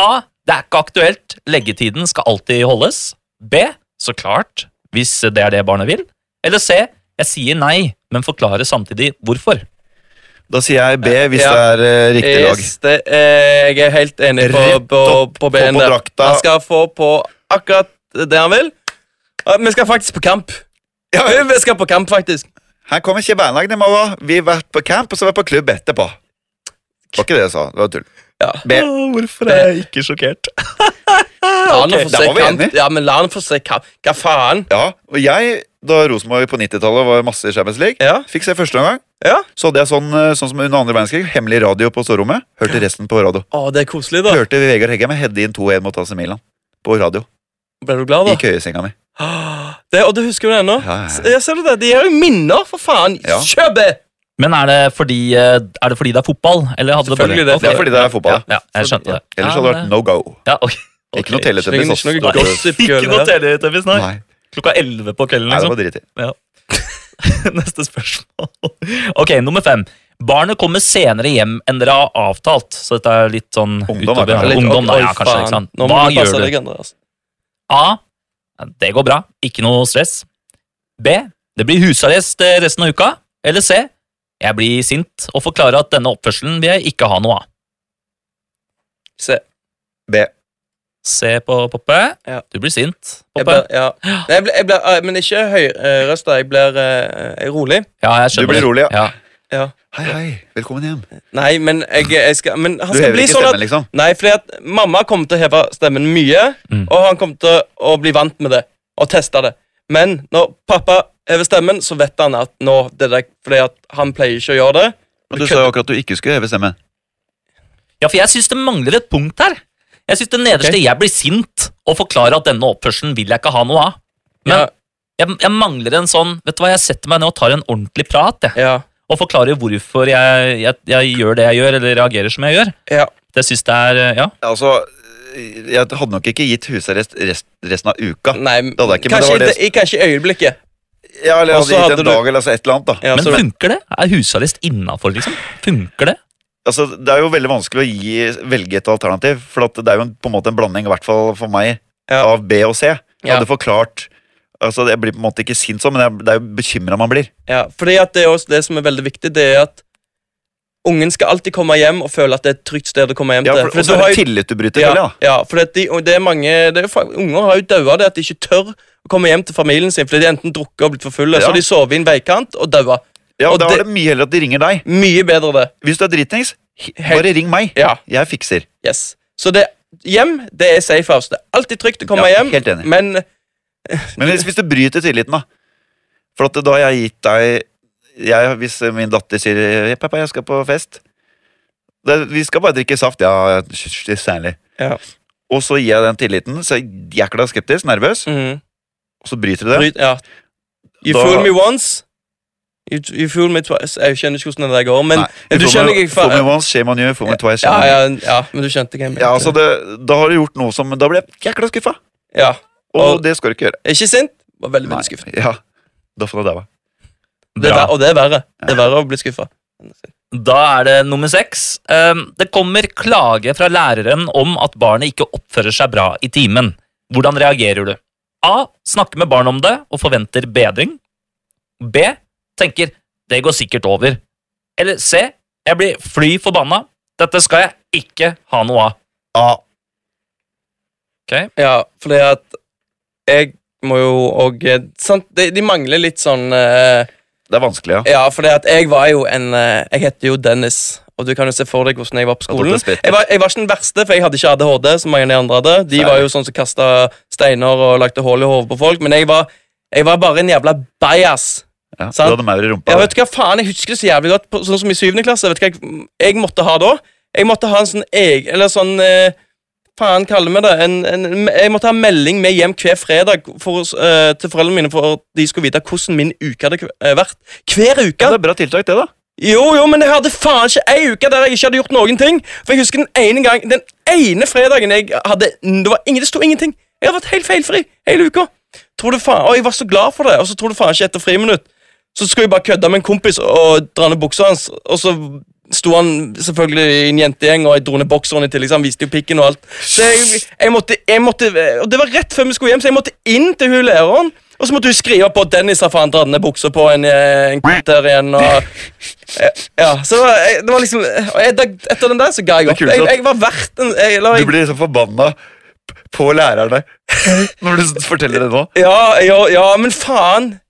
[SPEAKER 3] A. Det er ikke aktuelt. Leggetiden skal alltid holdes. B. Så klart, hvis det er det barnet vil. Eller C. Jeg sier nei, men forklarer samtidig hvorfor.
[SPEAKER 1] Da sier jeg B hvis
[SPEAKER 2] Ja.
[SPEAKER 1] det er eh, riktig lag.
[SPEAKER 2] Yes, det, eh, jeg er helt enig på,
[SPEAKER 1] Rett
[SPEAKER 2] på,
[SPEAKER 1] opp,
[SPEAKER 2] på
[SPEAKER 1] få
[SPEAKER 2] B-en
[SPEAKER 1] på
[SPEAKER 2] der.
[SPEAKER 1] drakta.
[SPEAKER 2] Han skal få på akkurat det han vil. Eh, Vi skal faktisk på kamp. Vi skal på kamp, faktisk.
[SPEAKER 1] Her kommer ikke bandlaget i morgen. Vi har vært på camp, og så har vi vært på klubb etterpå. Det var ikke det jeg sa. Det var tull.
[SPEAKER 2] Ja.
[SPEAKER 1] B.
[SPEAKER 3] Hvorfor er jeg ikke sjokkert?
[SPEAKER 2] La han få
[SPEAKER 1] der
[SPEAKER 2] se
[SPEAKER 1] var vi
[SPEAKER 2] kamp.
[SPEAKER 1] enige.
[SPEAKER 2] Ja, men la han få se kamp. Hva faen?
[SPEAKER 1] Ja, og jeg, da Rosenborg på 90-tallet var masse i Champions League,
[SPEAKER 2] Ja.
[SPEAKER 1] fikk se første omgang.
[SPEAKER 2] Ja.
[SPEAKER 1] Så hadde jeg sånn, eh, sånn som under andre verdenskrig, hemmelig radio på soverommet. Hørte resten på radio.
[SPEAKER 2] Å, det er koselig, da.
[SPEAKER 1] Hørte Vegard Heggheim hedde inn 2-1 mot AC Milan. På radio.
[SPEAKER 2] Ble du glad,
[SPEAKER 1] I
[SPEAKER 2] da?
[SPEAKER 1] køyesenga mi.
[SPEAKER 2] Det, og du husker jo det ennå?
[SPEAKER 1] Ja, ja, ja.
[SPEAKER 2] S- Ja, ser du det? De er jo minner, for faen.
[SPEAKER 1] Ja.
[SPEAKER 2] Kjøp det!
[SPEAKER 3] Men er det, fordi, eh, er det fordi det er fotball? Eller hadde
[SPEAKER 2] Selvfølgelig,
[SPEAKER 3] det
[SPEAKER 1] Det er fordi det er fotball.
[SPEAKER 3] Ja, jeg skjønte det.
[SPEAKER 1] Ellers hadde det vært no go.
[SPEAKER 3] Ja, ok.
[SPEAKER 1] Ikke noe
[SPEAKER 2] Det er
[SPEAKER 1] teletennis.
[SPEAKER 2] Ikke
[SPEAKER 1] ass.
[SPEAKER 2] noe gossip
[SPEAKER 3] Ikke noe teletøffis, nei.
[SPEAKER 1] Nei,
[SPEAKER 3] Klokka 11 på kvelden,
[SPEAKER 1] Nei, det
[SPEAKER 3] liksom.
[SPEAKER 1] var drit i.
[SPEAKER 3] Neste spørsmål. Ok, nummer fem. Barnet kommer senere hjem enn dere har avtalt. Så dette er litt sånn
[SPEAKER 1] Ungdom, da,
[SPEAKER 3] utover-
[SPEAKER 1] kanskje.
[SPEAKER 3] Ungdom, da,
[SPEAKER 2] Oi,
[SPEAKER 3] ja, kanskje,
[SPEAKER 2] faen.
[SPEAKER 3] ikke sant?
[SPEAKER 2] Nå må
[SPEAKER 3] Hva
[SPEAKER 2] du passe
[SPEAKER 3] gjør du?
[SPEAKER 2] deg, Andreas.
[SPEAKER 3] A. Det går bra. Ikke noe stress. B. Det blir husarrest eh, resten av uka. Eller C. Jeg blir sint og forklarer at denne oppførselen vil jeg ikke ha noe av.
[SPEAKER 2] Se.
[SPEAKER 1] B.
[SPEAKER 3] Se på Poppe.
[SPEAKER 2] Ja.
[SPEAKER 3] Du blir sint,
[SPEAKER 2] Jeg
[SPEAKER 3] Poppe.
[SPEAKER 2] blir, ja. Nei, jeg blir, jeg blir, eh, men ikke høyrøsta. Jeg blir eh, jeg er rolig.
[SPEAKER 3] Ja, jeg
[SPEAKER 1] Du
[SPEAKER 3] skjønner.
[SPEAKER 1] blir
[SPEAKER 3] det.
[SPEAKER 1] rolig, ja.
[SPEAKER 3] Ja.
[SPEAKER 1] Hei, hei. Velkommen hjem.
[SPEAKER 2] Nei, men jeg, jeg skal Men han
[SPEAKER 1] Du
[SPEAKER 2] skal
[SPEAKER 1] hever
[SPEAKER 2] bli
[SPEAKER 1] ikke
[SPEAKER 2] sånn at
[SPEAKER 1] stemmen, liksom.
[SPEAKER 2] Nei, fordi at mamma kommer til å heve stemmen mye,
[SPEAKER 3] Mm.
[SPEAKER 2] og han kommer til å bli vant med det og teste det. Men når pappa hever stemmen, så vet han at nå det der, Fordi at han pleier ikke å gjøre det.
[SPEAKER 1] Du
[SPEAKER 2] Og du
[SPEAKER 1] sa jo
[SPEAKER 2] kødder.
[SPEAKER 1] akkurat at du ikke skulle heve stemmen.
[SPEAKER 3] Ja, for jeg syns det mangler et punkt her. Jeg syns det nederste
[SPEAKER 2] Ok.
[SPEAKER 3] jeg blir sint og forklarer at denne oppførselen vil jeg ikke ha noe av. Men
[SPEAKER 2] Ja.
[SPEAKER 3] jeg, jeg mangler en sånn Vet du hva, jeg setter meg ned og tar en ordentlig prat jeg,
[SPEAKER 2] Ja,
[SPEAKER 3] og forklarer hvorfor jeg, jeg, jeg gjør det jeg gjør, eller reagerer som jeg gjør.
[SPEAKER 2] ja.
[SPEAKER 3] Det syns det er eh, Ja.
[SPEAKER 1] Ja, Altså, jeg hadde nok ikke gitt husarrest rest, resten av uka.
[SPEAKER 2] Nei,
[SPEAKER 1] hadde jeg ikke, men det
[SPEAKER 2] kanskje,
[SPEAKER 1] var
[SPEAKER 2] i
[SPEAKER 1] det-
[SPEAKER 2] det- i- kanskje i øyeblikket.
[SPEAKER 1] Ja, eller jeg
[SPEAKER 2] Og så
[SPEAKER 1] hadde gitt
[SPEAKER 2] hadde
[SPEAKER 1] en
[SPEAKER 2] du-
[SPEAKER 1] dag eller altså et eller annet, da.
[SPEAKER 2] Ja,
[SPEAKER 3] Men
[SPEAKER 2] så,
[SPEAKER 3] funker det? Er husarrest innafor, liksom? Funker det?
[SPEAKER 1] altså, det er jo veldig vanskelig å gi, velge et alternativ, for at det er jo en, på en måte en blanding, i hvert fall for meg,
[SPEAKER 2] Ja.
[SPEAKER 1] av B og C. Jeg
[SPEAKER 2] Ja.
[SPEAKER 1] hadde forklart altså, Jeg blir på en måte ikke sint sånn, men jeg, det er jo bekymra man blir.
[SPEAKER 2] ja. Fordi at det er også det som er veldig viktig, det er at ungen skal alltid komme hjem og føle at det er et trygt sted å komme hjem
[SPEAKER 1] Ja,
[SPEAKER 2] til.
[SPEAKER 1] for,
[SPEAKER 2] Fordi
[SPEAKER 1] og så
[SPEAKER 2] du
[SPEAKER 1] er
[SPEAKER 2] har
[SPEAKER 1] det
[SPEAKER 2] jo-
[SPEAKER 1] tillit du bryter, føler
[SPEAKER 2] Ja,
[SPEAKER 1] jeg. da.
[SPEAKER 2] ja for det, og det er mange det er, jo fa- Unger har jo daua av det at de ikke tør å komme hjem til familien sin fordi de enten drukket og blitt for fulle,
[SPEAKER 1] Ja.
[SPEAKER 2] så har de sovet i en veikant og daua.
[SPEAKER 1] Ja,
[SPEAKER 2] Og
[SPEAKER 1] og Da
[SPEAKER 2] det-
[SPEAKER 1] er det mye heller at de ringer deg.
[SPEAKER 2] Mye bedre det.
[SPEAKER 1] Hvis du er dritings, he-
[SPEAKER 2] Helt-
[SPEAKER 1] bare ring meg.
[SPEAKER 2] Ja.
[SPEAKER 1] Jeg fikser.
[SPEAKER 2] Yes. Så det, hjem det er safe house. Det er alltid trygt å komme
[SPEAKER 1] Ja,
[SPEAKER 2] hjem,
[SPEAKER 1] helt enig.
[SPEAKER 2] men
[SPEAKER 1] Men hvis, hvis du bryter tilliten, da For at da har jeg gitt deg jeg, Hvis min datter sier «Ja, 'Pappa, jeg skal på fest' det, 'Vi skal bare drikke saft.' Ja, sj- sj- særlig.
[SPEAKER 2] Ja.
[SPEAKER 1] Og så gir jeg den tilliten. Så jeg er jækla skeptisk, nervøs,
[SPEAKER 2] mm,
[SPEAKER 1] og så bryter du det.
[SPEAKER 2] bryt, ja. You
[SPEAKER 1] Da-
[SPEAKER 2] fool me once. You, you fool me twice. Jeg skjønner ikke hvordan det der går, men
[SPEAKER 1] Nei,
[SPEAKER 2] du
[SPEAKER 1] fool
[SPEAKER 2] skjønner
[SPEAKER 1] me-
[SPEAKER 2] ikke
[SPEAKER 1] Fool
[SPEAKER 2] fa-
[SPEAKER 1] me once, shame on you. Fool me twice,
[SPEAKER 2] ja,
[SPEAKER 1] shame on you.
[SPEAKER 2] ja, ja, men du skjønte hva jeg mente.
[SPEAKER 1] Ja, altså det, Da har du gjort noe som Da ble jeg jækla skuffa,
[SPEAKER 2] Ja.
[SPEAKER 1] og
[SPEAKER 2] Og-
[SPEAKER 1] det skal du ikke gjøre.
[SPEAKER 2] Ikke sint, var veldig, veldig skuffet.
[SPEAKER 1] Nei, ja, da får du daua.
[SPEAKER 2] Det er
[SPEAKER 3] Bra.
[SPEAKER 2] ver- Og det er verre. Det er verre å bli skuffa.
[SPEAKER 3] Da er det nummer seks. Ehm, Det kommer klage fra læreren om at barnet ikke oppfører seg bra i timen. Hvordan reagerer du? A. Snakker med barnet om det og forventer bedring. B. Tenker 'det går sikkert over'. Eller C. Jeg blir fly forbanna. Dette skal jeg ikke ha noe av.
[SPEAKER 1] Ah,
[SPEAKER 2] Ja, fordi at jeg må jo òg Sant, de, de mangler litt sånn eh,
[SPEAKER 1] det er vanskelig, ja.
[SPEAKER 2] Ja, fordi at jeg var jo en eh, Jeg heter jo Dennis, og du kan jo se for deg hvordan jeg var
[SPEAKER 1] At
[SPEAKER 2] på
[SPEAKER 1] du ble
[SPEAKER 2] skolen.
[SPEAKER 1] spredt.
[SPEAKER 2] Jeg var, jeg var ikke den verste, for jeg hadde ikke ADHD, som mange av de andre hadde. De var jo sånn som kasta steiner og lagde hull i hodet på folk, men jeg var, jeg var bare en jævla bajas.
[SPEAKER 1] ja. Du
[SPEAKER 2] sant.
[SPEAKER 1] hadde maur i rumpa.
[SPEAKER 2] Ja, vet du hva faen, Jeg husker det så jævlig godt, på, sånn som i syvende klasse. Vet du hva jeg, jeg måtte ha da? Jeg måtte ha en sånn eg, Eller sånn eh, Faen, kaller vi det en, en, Jeg måtte ha melding med hjem hver fredag for, eh, til foreldrene mine for at de skulle vite hvordan min uke hadde kv- eh, vært. Hver
[SPEAKER 1] Ja,
[SPEAKER 2] uke!
[SPEAKER 1] det er bra tiltak, det, da.
[SPEAKER 2] Jo, jo, men jeg hadde faen ikke ei uke der jeg ikke hadde gjort noen ting. For jeg husker den ene gang, den ene fredagen jeg hadde Det, var ingen, det sto ingenting. Jeg hadde vært helt feilfri hele uka. Tror du faen, Og jeg var så glad for det, og så tror du faen ikke etter friminutt. Så skulle jeg bare kødde med en kompis og dra ned buksa hans, og så sto han selvfølgelig i en jentegjeng, og jeg dro ned bokseren i tillegg, så han viste jo pikken og alt. Så jeg, jeg, måtte, jeg måtte, og det var rett før vi skulle hjem, så jeg måtte inn til hun læreren. Og så måtte hun skrive på at Dennis har faen dratt ned buksa på en, eh, en kutt der igjen. og... eh, Ja, så det var, jeg- det var liksom og jeg, da- Etter den der så ga jeg
[SPEAKER 1] Det
[SPEAKER 2] opp.
[SPEAKER 1] er kult
[SPEAKER 2] Jeg,
[SPEAKER 1] at-
[SPEAKER 2] jeg var verdt en jeg, la,
[SPEAKER 1] Du
[SPEAKER 2] jeg,
[SPEAKER 1] blir liksom forbanna p- på lærerne når du s- forteller det nå.
[SPEAKER 2] ja, ja, ja, men faen.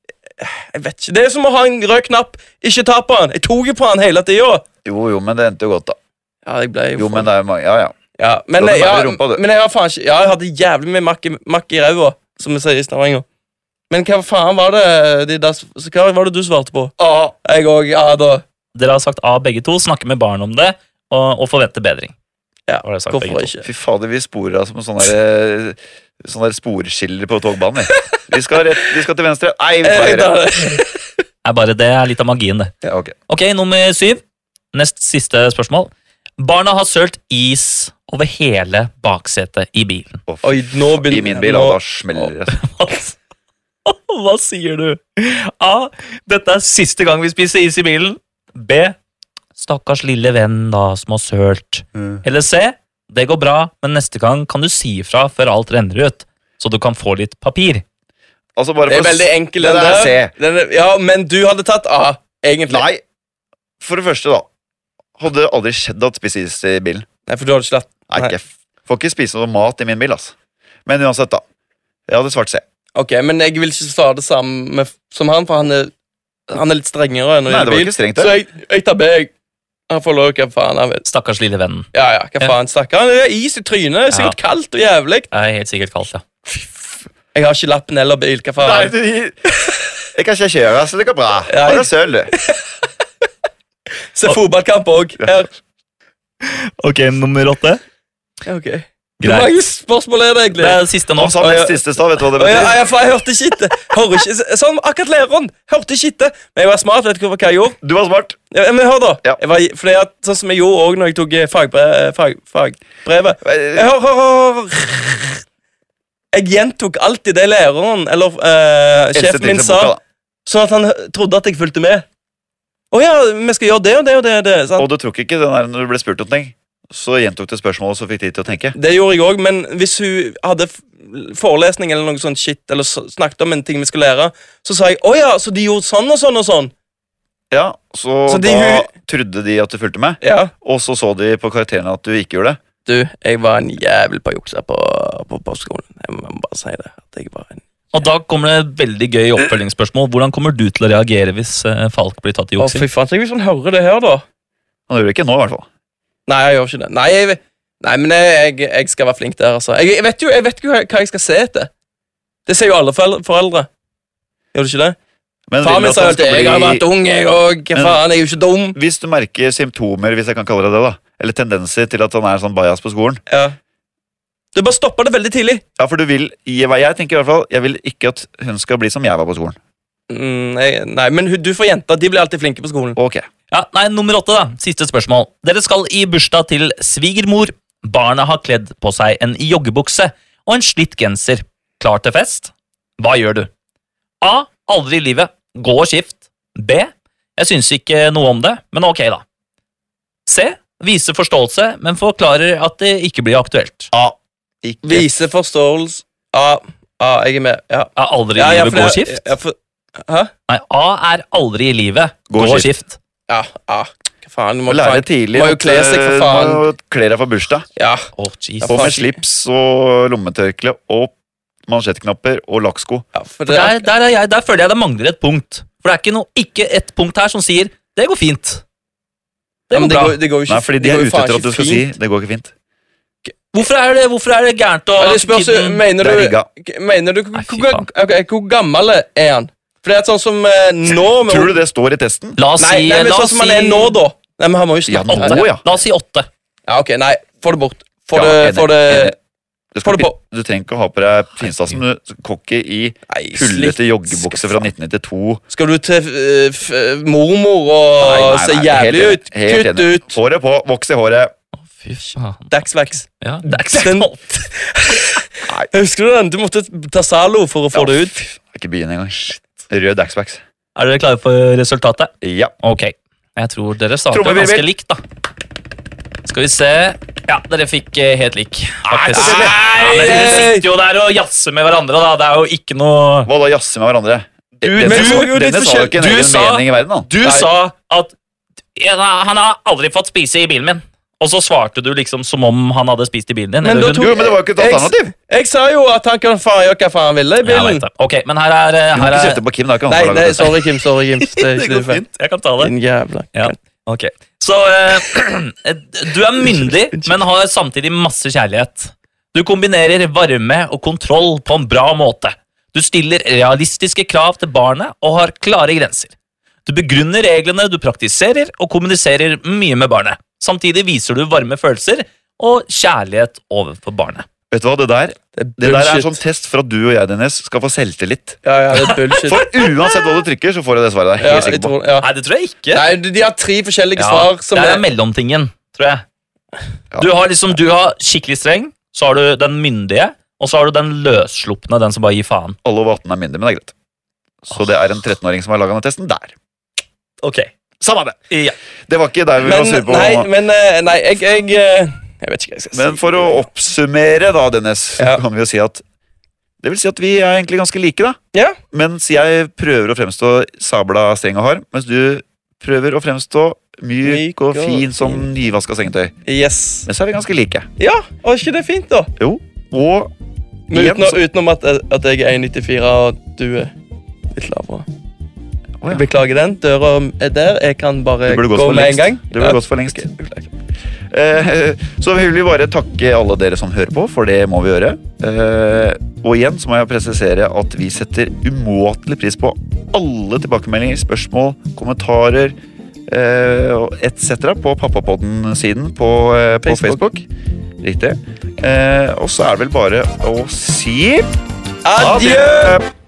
[SPEAKER 2] Jeg vet ikke. Det er som å ha en rød knapp. Ikke ta på han. Jeg tok jo på han hele tida.
[SPEAKER 1] Jo, jo, men det endte jo godt, da.
[SPEAKER 2] Ja, jeg ble
[SPEAKER 1] Jo, men det er jo mange, ja, ja.
[SPEAKER 2] Ja, men,
[SPEAKER 1] Du hadde
[SPEAKER 2] ja,
[SPEAKER 1] bare rumpa, du.
[SPEAKER 2] men jeg har faen ikke Ja, jeg hadde jævlig mye makk i- makk i ræva, som vi sier i Stavanger. Men hva faen var det de der, s- så Hva var det du svarte på? Ah, jeg òg. Ja da.
[SPEAKER 3] Dere har sagt A, begge to. Snakke med barn om det, og, og forvente bedring.
[SPEAKER 2] Ja,
[SPEAKER 3] Har dere sagt begge
[SPEAKER 2] Hvorfor
[SPEAKER 3] to?
[SPEAKER 2] ikke?
[SPEAKER 1] Fy fader, vi sporer av som sånne, der, sånne der sporskiller på togbanen. Vi. vi, skal rett, vi skal til venstre. Nei, vi tar
[SPEAKER 2] Eh, Jeg,
[SPEAKER 1] høyre.
[SPEAKER 3] Nei, bare det er litt av magien, det.
[SPEAKER 1] Ja, ok.
[SPEAKER 3] Ok, nummer syv. Nest siste spørsmål. Barna har sølt is over hele baksetet i bilen.
[SPEAKER 1] Å, fy
[SPEAKER 2] Oi, nå
[SPEAKER 1] faen, I
[SPEAKER 2] begynner
[SPEAKER 1] min bil, ja,
[SPEAKER 2] nå-
[SPEAKER 1] da smeller det.
[SPEAKER 3] Hva sier du? A. Dette er siste gang vi spiser is i bilen. B. Stakkars lille venn da, som har sølt. Eller C. Det går bra, men neste gang kan du si ifra før alt renner ut, så du kan få litt papir.
[SPEAKER 1] Altså, bare
[SPEAKER 2] Det er
[SPEAKER 1] for å
[SPEAKER 2] veldig
[SPEAKER 1] s-
[SPEAKER 2] enkel,
[SPEAKER 1] det
[SPEAKER 2] den
[SPEAKER 1] der er
[SPEAKER 2] der. Den er- ja, men du hadde tatt A, egentlig.
[SPEAKER 1] Nei, for det første, da. Hadde aldri skjedd at spise is i bilen.
[SPEAKER 2] Nei, for du hadde ikke latt
[SPEAKER 1] Nei,
[SPEAKER 2] Nei.
[SPEAKER 1] ikke f- Får ikke spise noe mat i min bil, altså. Men uansett, da. Jeg hadde svart C.
[SPEAKER 2] Ok, men jeg vil ikke svare det samme med, som han, for han er, han er litt strengere. enn å
[SPEAKER 1] Nei,
[SPEAKER 2] gjøre
[SPEAKER 1] det var
[SPEAKER 2] bil.
[SPEAKER 1] ikke strengt,
[SPEAKER 2] Så
[SPEAKER 1] det.
[SPEAKER 2] jeg, jeg tar B. jeg. Han får lov hva faen han vil.
[SPEAKER 3] Stakkars lille vennen.
[SPEAKER 2] Ja, ja, hva
[SPEAKER 3] Ja.
[SPEAKER 2] faen, stakkar. Han er is i trynet. Sikkert kaldt og jævlig.
[SPEAKER 3] Det er helt sikkert kaldt, ja.
[SPEAKER 2] Jeg har ikke lappen eller bil, hva faen?
[SPEAKER 1] Nei, du, jeg kan ikke kjøre, så det går bra.
[SPEAKER 2] Ja.
[SPEAKER 1] Bare søl, du.
[SPEAKER 2] Se fotballkamp òg. Her.
[SPEAKER 3] Ok, nummer åtte.
[SPEAKER 2] Ja, ok. Hvor
[SPEAKER 3] Greit.
[SPEAKER 2] mange spørsmål er det egentlig?
[SPEAKER 3] Det er siste nå.
[SPEAKER 1] Han sa
[SPEAKER 2] Å, ja.
[SPEAKER 1] nest siste, så vet du hva det
[SPEAKER 2] Å, ja,
[SPEAKER 1] betyr?
[SPEAKER 2] ja, for jeg hørte ikke etter. Hører ikke- Sånn, akkurat læreren. Hørte ikke etter. Men jeg var smart. vet du hva jeg gjorde?
[SPEAKER 1] Du var smart.
[SPEAKER 2] Ja, men hør, da.
[SPEAKER 1] Ja.
[SPEAKER 2] Jeg var, fordi at, sånn som jeg gjorde òg når jeg tok eh, fagbre, fag, fagbrevet. Jeg, hør, hør, hør, hør. jeg gjentok alltid det læreren eller eh,
[SPEAKER 1] Eldste
[SPEAKER 2] sjefen min
[SPEAKER 1] tipset boka,
[SPEAKER 2] sa,
[SPEAKER 1] da.
[SPEAKER 2] sånn at han hø- trodde at jeg fulgte med. Å ja, vi skal gjøre det og det og det. Og det sant?
[SPEAKER 1] Og du tok ikke den der når du ble spurt om ting. Så gjentok du spørsmålet, så fikk de til å tenke.
[SPEAKER 2] Det gjorde jeg òg, men hvis hun hadde f- forelesning eller noe sånt shit, eller s- snakket om en ting vi skulle lære, så sa jeg 'Å ja, så de gjorde sånn og sånn og sånn'.
[SPEAKER 1] Ja, Så,
[SPEAKER 2] Så de-
[SPEAKER 1] da trodde de at du fulgte med,
[SPEAKER 2] Ja.
[SPEAKER 1] og så så de på karakterene at du ikke gjorde det.
[SPEAKER 2] Du, jeg var en jævel på juksa på, på, på skolen. Jeg må bare si det. At jeg var en
[SPEAKER 3] Og da kommer det veldig gøy oppfølgingsspørsmål. Hvordan kommer du til å reagere hvis eh, Falk blir tatt i
[SPEAKER 2] Å,
[SPEAKER 3] juksing?
[SPEAKER 2] fy faen. Tenk hvis han hører sånn det her, da.
[SPEAKER 1] Han gjorde det ikke nå, i hvert fall.
[SPEAKER 2] Nei, jeg gjør ikke det. Nei, jeg, nei men jeg, jeg, jeg skal være flink der, altså. Jeg, jeg vet jo jeg vet ikke hva- hva jeg skal se etter. Det sier jo alle foreldre. foreldre. Gjør du ikke det? sånn
[SPEAKER 1] Men
[SPEAKER 2] Faren
[SPEAKER 1] vil
[SPEAKER 2] min
[SPEAKER 1] at
[SPEAKER 2] sa
[SPEAKER 1] han
[SPEAKER 2] alltid
[SPEAKER 1] skal
[SPEAKER 2] 'Jeg har
[SPEAKER 1] bli-
[SPEAKER 2] vært ung, jeg òg'. Hva
[SPEAKER 1] Men-
[SPEAKER 2] faen, jeg er jo ikke dum.
[SPEAKER 1] Hvis du merker symptomer, hvis jeg kan kalle det det, da eller tendenser til at han er sånn bajas på skolen
[SPEAKER 2] Ja. Du bare stoppa det veldig tidlig.
[SPEAKER 1] Ja, for du vil i- hva Jeg tenker i hvert fall Jeg vil ikke at hun skal bli som jeg var på skolen.
[SPEAKER 2] Mm, jeg, nei, men hun- du får jenter. De blir alltid flinke på skolen.
[SPEAKER 1] Ok,
[SPEAKER 3] Ja, nei, nummer åtte, da. Siste spørsmål. Dere skal i bursdag til svigermor. Barna har kledd på seg en joggebukse og en slitt genser. Klar til fest? Hva gjør du? A. Aldri i livet. Gå og skift. B. Jeg syns ikke noe om det, men ok, da. C. Vise forståelse, men forklarer at det ikke blir aktuelt.
[SPEAKER 2] A. Vise forståelse A. A, jeg er med. Ja.
[SPEAKER 3] Er aldri i
[SPEAKER 2] Ja, ja,
[SPEAKER 3] livet
[SPEAKER 2] for
[SPEAKER 3] gå og
[SPEAKER 2] det-
[SPEAKER 3] skift?
[SPEAKER 2] Ja, for, hæ?
[SPEAKER 3] Nei, A er aldri i livet. Gå og skift.
[SPEAKER 2] Ja, A. Hva faen? Du må,
[SPEAKER 1] Må lære
[SPEAKER 2] faen,
[SPEAKER 1] tidlig
[SPEAKER 2] må
[SPEAKER 1] at,
[SPEAKER 2] jo kle seg, for
[SPEAKER 1] eh,
[SPEAKER 2] faen.
[SPEAKER 1] Må jo kle deg for bursdag.
[SPEAKER 2] Ja.
[SPEAKER 3] Å, Jesus.
[SPEAKER 1] Og med slips og lommetørkle og mansjettknapper og lakksko.
[SPEAKER 2] ja for det,
[SPEAKER 3] Der, der, er jeg, der føler jeg det mangler et punkt. For det er ikke, noe, ikke et punkt her som sier 'det går
[SPEAKER 2] ja,
[SPEAKER 3] fint'. Det går
[SPEAKER 2] men det,
[SPEAKER 3] bra.
[SPEAKER 2] går, det går jo ikke
[SPEAKER 1] Nei, fordi de
[SPEAKER 2] det
[SPEAKER 1] er
[SPEAKER 2] går jo
[SPEAKER 1] ute
[SPEAKER 2] faen
[SPEAKER 1] etter at
[SPEAKER 2] ikke
[SPEAKER 1] du skal
[SPEAKER 2] fint.
[SPEAKER 1] si 'det går ikke fint'.
[SPEAKER 3] Hvorfor er det, hvorfor er det gærent å
[SPEAKER 2] ja, det spørs, jo, Mener
[SPEAKER 1] Det
[SPEAKER 2] du,
[SPEAKER 1] er rigga.
[SPEAKER 2] k- mener du
[SPEAKER 3] Nei, fy
[SPEAKER 2] hvor, ok, hvor gammel er han? For det er sånn som eh, nå men-
[SPEAKER 1] Tror du det står i testen?
[SPEAKER 3] La oss
[SPEAKER 2] Nei,
[SPEAKER 3] si
[SPEAKER 2] nei, men
[SPEAKER 3] la
[SPEAKER 2] sånn
[SPEAKER 3] oss
[SPEAKER 2] som han
[SPEAKER 3] si-
[SPEAKER 2] er nå, da. Nei, men han må jo
[SPEAKER 1] Ja,
[SPEAKER 2] snakke
[SPEAKER 1] nå, ja.
[SPEAKER 3] La oss si åtte.
[SPEAKER 2] Ja, ok, nei, få det bort. Få
[SPEAKER 1] Ja,
[SPEAKER 2] det,
[SPEAKER 1] enig,
[SPEAKER 2] få det
[SPEAKER 1] enig. Du,
[SPEAKER 2] Få
[SPEAKER 1] skal,
[SPEAKER 2] det på.
[SPEAKER 1] ikke- du trenger ikke å ha på deg finstasen, men du kokke i
[SPEAKER 2] Nei, slipp.
[SPEAKER 1] hullete joggebukse fra 1992.
[SPEAKER 2] Skal du til eh, f mormor og se
[SPEAKER 1] helt
[SPEAKER 2] jævlig
[SPEAKER 1] enig,
[SPEAKER 2] ut?
[SPEAKER 1] helt
[SPEAKER 2] Kutt
[SPEAKER 1] enig.
[SPEAKER 2] ut!
[SPEAKER 1] Håret på, voks i håret.
[SPEAKER 3] Fy faen.
[SPEAKER 2] Dagsvax.
[SPEAKER 3] Ja, det er ikke
[SPEAKER 2] Den-
[SPEAKER 3] sant.
[SPEAKER 2] Husker du den? Du måtte ta Zalo for å få det ut.
[SPEAKER 1] Ikke begynn engang. Rød Daxbacks.
[SPEAKER 3] Er dere klare for resultatet?
[SPEAKER 1] Ja.
[SPEAKER 3] Ok. Jeg tror dere starter jo
[SPEAKER 1] Trommevirvel.
[SPEAKER 3] ganske likt, da. Skal vi se Ja, dere fikk eh, helt lik, faktisk.
[SPEAKER 1] Nei,
[SPEAKER 3] Ja, men dere sitter jo der og jazzer med hverandre, da. Det er jo ikke noe
[SPEAKER 1] Vold og jazze med hverandre.
[SPEAKER 3] Du-
[SPEAKER 1] Denne
[SPEAKER 3] men
[SPEAKER 1] sa-
[SPEAKER 3] du- jo, det er
[SPEAKER 1] denne sa jo ikke en
[SPEAKER 3] forskjell- du
[SPEAKER 1] egen
[SPEAKER 3] sa-
[SPEAKER 1] mening i verden, da.
[SPEAKER 3] Du
[SPEAKER 1] Nei.
[SPEAKER 3] sa at ja, da, han har aldri fått spise i bilen min. Og så svarte du liksom som om han hadde spist i bilen din.
[SPEAKER 2] Men
[SPEAKER 3] eller
[SPEAKER 2] da
[SPEAKER 3] hun-
[SPEAKER 2] tok-
[SPEAKER 1] Jo, men det var jo ikke et alternativ!
[SPEAKER 2] Jeg sa jo at han kan faen gjøre hva faen han ville i
[SPEAKER 3] Jeg vet
[SPEAKER 2] bilen.
[SPEAKER 3] det. Ok, men her er, eh,
[SPEAKER 1] Du må
[SPEAKER 3] her
[SPEAKER 1] ikke
[SPEAKER 3] er
[SPEAKER 1] kjefte på Kim. Det er ikke han
[SPEAKER 2] Nei,
[SPEAKER 1] som har
[SPEAKER 2] nei,
[SPEAKER 1] laget dette.
[SPEAKER 2] sorry, Kim. Sorry, Kim. Det er ikke du feil.
[SPEAKER 3] Jeg kan ta det.
[SPEAKER 2] Din jævla
[SPEAKER 3] Ja, ok. Så eh, du er myndig, men har samtidig masse kjærlighet. Du kombinerer varme og kontroll på en bra måte. Du stiller realistiske krav til barnet og har klare grenser. Du begrunner reglene du praktiserer, og kommuniserer mye med barnet. Samtidig viser du varme følelser og kjærlighet overfor barnet.
[SPEAKER 1] Vet du hva, det der
[SPEAKER 2] Det er
[SPEAKER 1] Det der er en sånn
[SPEAKER 2] bullshit.
[SPEAKER 1] test for at du og jeg, Dennis, skal få selvtillit.
[SPEAKER 2] Ja, ja, det er bullshit.
[SPEAKER 1] For uansett hva du trykker, så får du det svaret der.
[SPEAKER 2] Ja,
[SPEAKER 1] Helt
[SPEAKER 2] jeg
[SPEAKER 1] sikker på.
[SPEAKER 2] tror, ja.
[SPEAKER 3] Nei, det tror jeg ikke.
[SPEAKER 2] Nei, de de har tre forskjellige
[SPEAKER 3] Ja,
[SPEAKER 2] svar som
[SPEAKER 3] det er
[SPEAKER 2] er
[SPEAKER 3] mellomtingen, tror jeg.
[SPEAKER 1] Ja.
[SPEAKER 3] Du har liksom, du har skikkelig streng, så har du den myndige, og så har du den løsslupne, den som bare gir faen.
[SPEAKER 1] Alle over 18 er mindre, men det er greit. Så det er en 13-åring som har laga den testen der.
[SPEAKER 3] Ok.
[SPEAKER 1] Samme det!
[SPEAKER 3] Ja.
[SPEAKER 1] Det var ikke der vi var
[SPEAKER 2] Men,
[SPEAKER 1] sure på.
[SPEAKER 2] nei, men eh, nei, jeg, jeg eh, Jeg vet ikke hva jeg skal si.
[SPEAKER 1] Men for å oppsummere, da, Dennis, så
[SPEAKER 2] Ja.
[SPEAKER 1] kan vi jo si at Det vil si at vi er egentlig ganske like, da.
[SPEAKER 2] Ja.
[SPEAKER 1] Mens jeg prøver å fremstå sabla streng og hard, mens du prøver å fremstå myk
[SPEAKER 2] Myk
[SPEAKER 1] og
[SPEAKER 2] og
[SPEAKER 1] fin som nyvaska sengetøy.
[SPEAKER 2] Yes.
[SPEAKER 1] Men så er vi ganske like.
[SPEAKER 2] Ja, og er ikke det fint, da?
[SPEAKER 1] Jo. Og
[SPEAKER 2] Men
[SPEAKER 1] igjen
[SPEAKER 2] uten,
[SPEAKER 1] så-
[SPEAKER 2] utenom at, at jeg er 1,94 og du er litt lavere.
[SPEAKER 1] Å, ja.
[SPEAKER 2] Beklager den. Døra er der. Jeg kan bare
[SPEAKER 1] Det burde gått
[SPEAKER 2] gå
[SPEAKER 1] for
[SPEAKER 2] med en
[SPEAKER 1] lengst.
[SPEAKER 2] gang.
[SPEAKER 1] Det burde gått for lengst.
[SPEAKER 2] Beklager.
[SPEAKER 1] Eh, Så vil vi bare takke alle dere som hører på, for det må vi gjøre. Eh, Og igjen så må jeg presisere at vi setter umåtelig pris på alle tilbakemeldinger, spørsmål, kommentarer eh, etc. på Pappapodden-siden på, eh, på
[SPEAKER 2] Facebook.
[SPEAKER 1] Facebook. Riktig. Eh, Og så er det vel bare å si
[SPEAKER 2] Adjø!
[SPEAKER 1] adjø!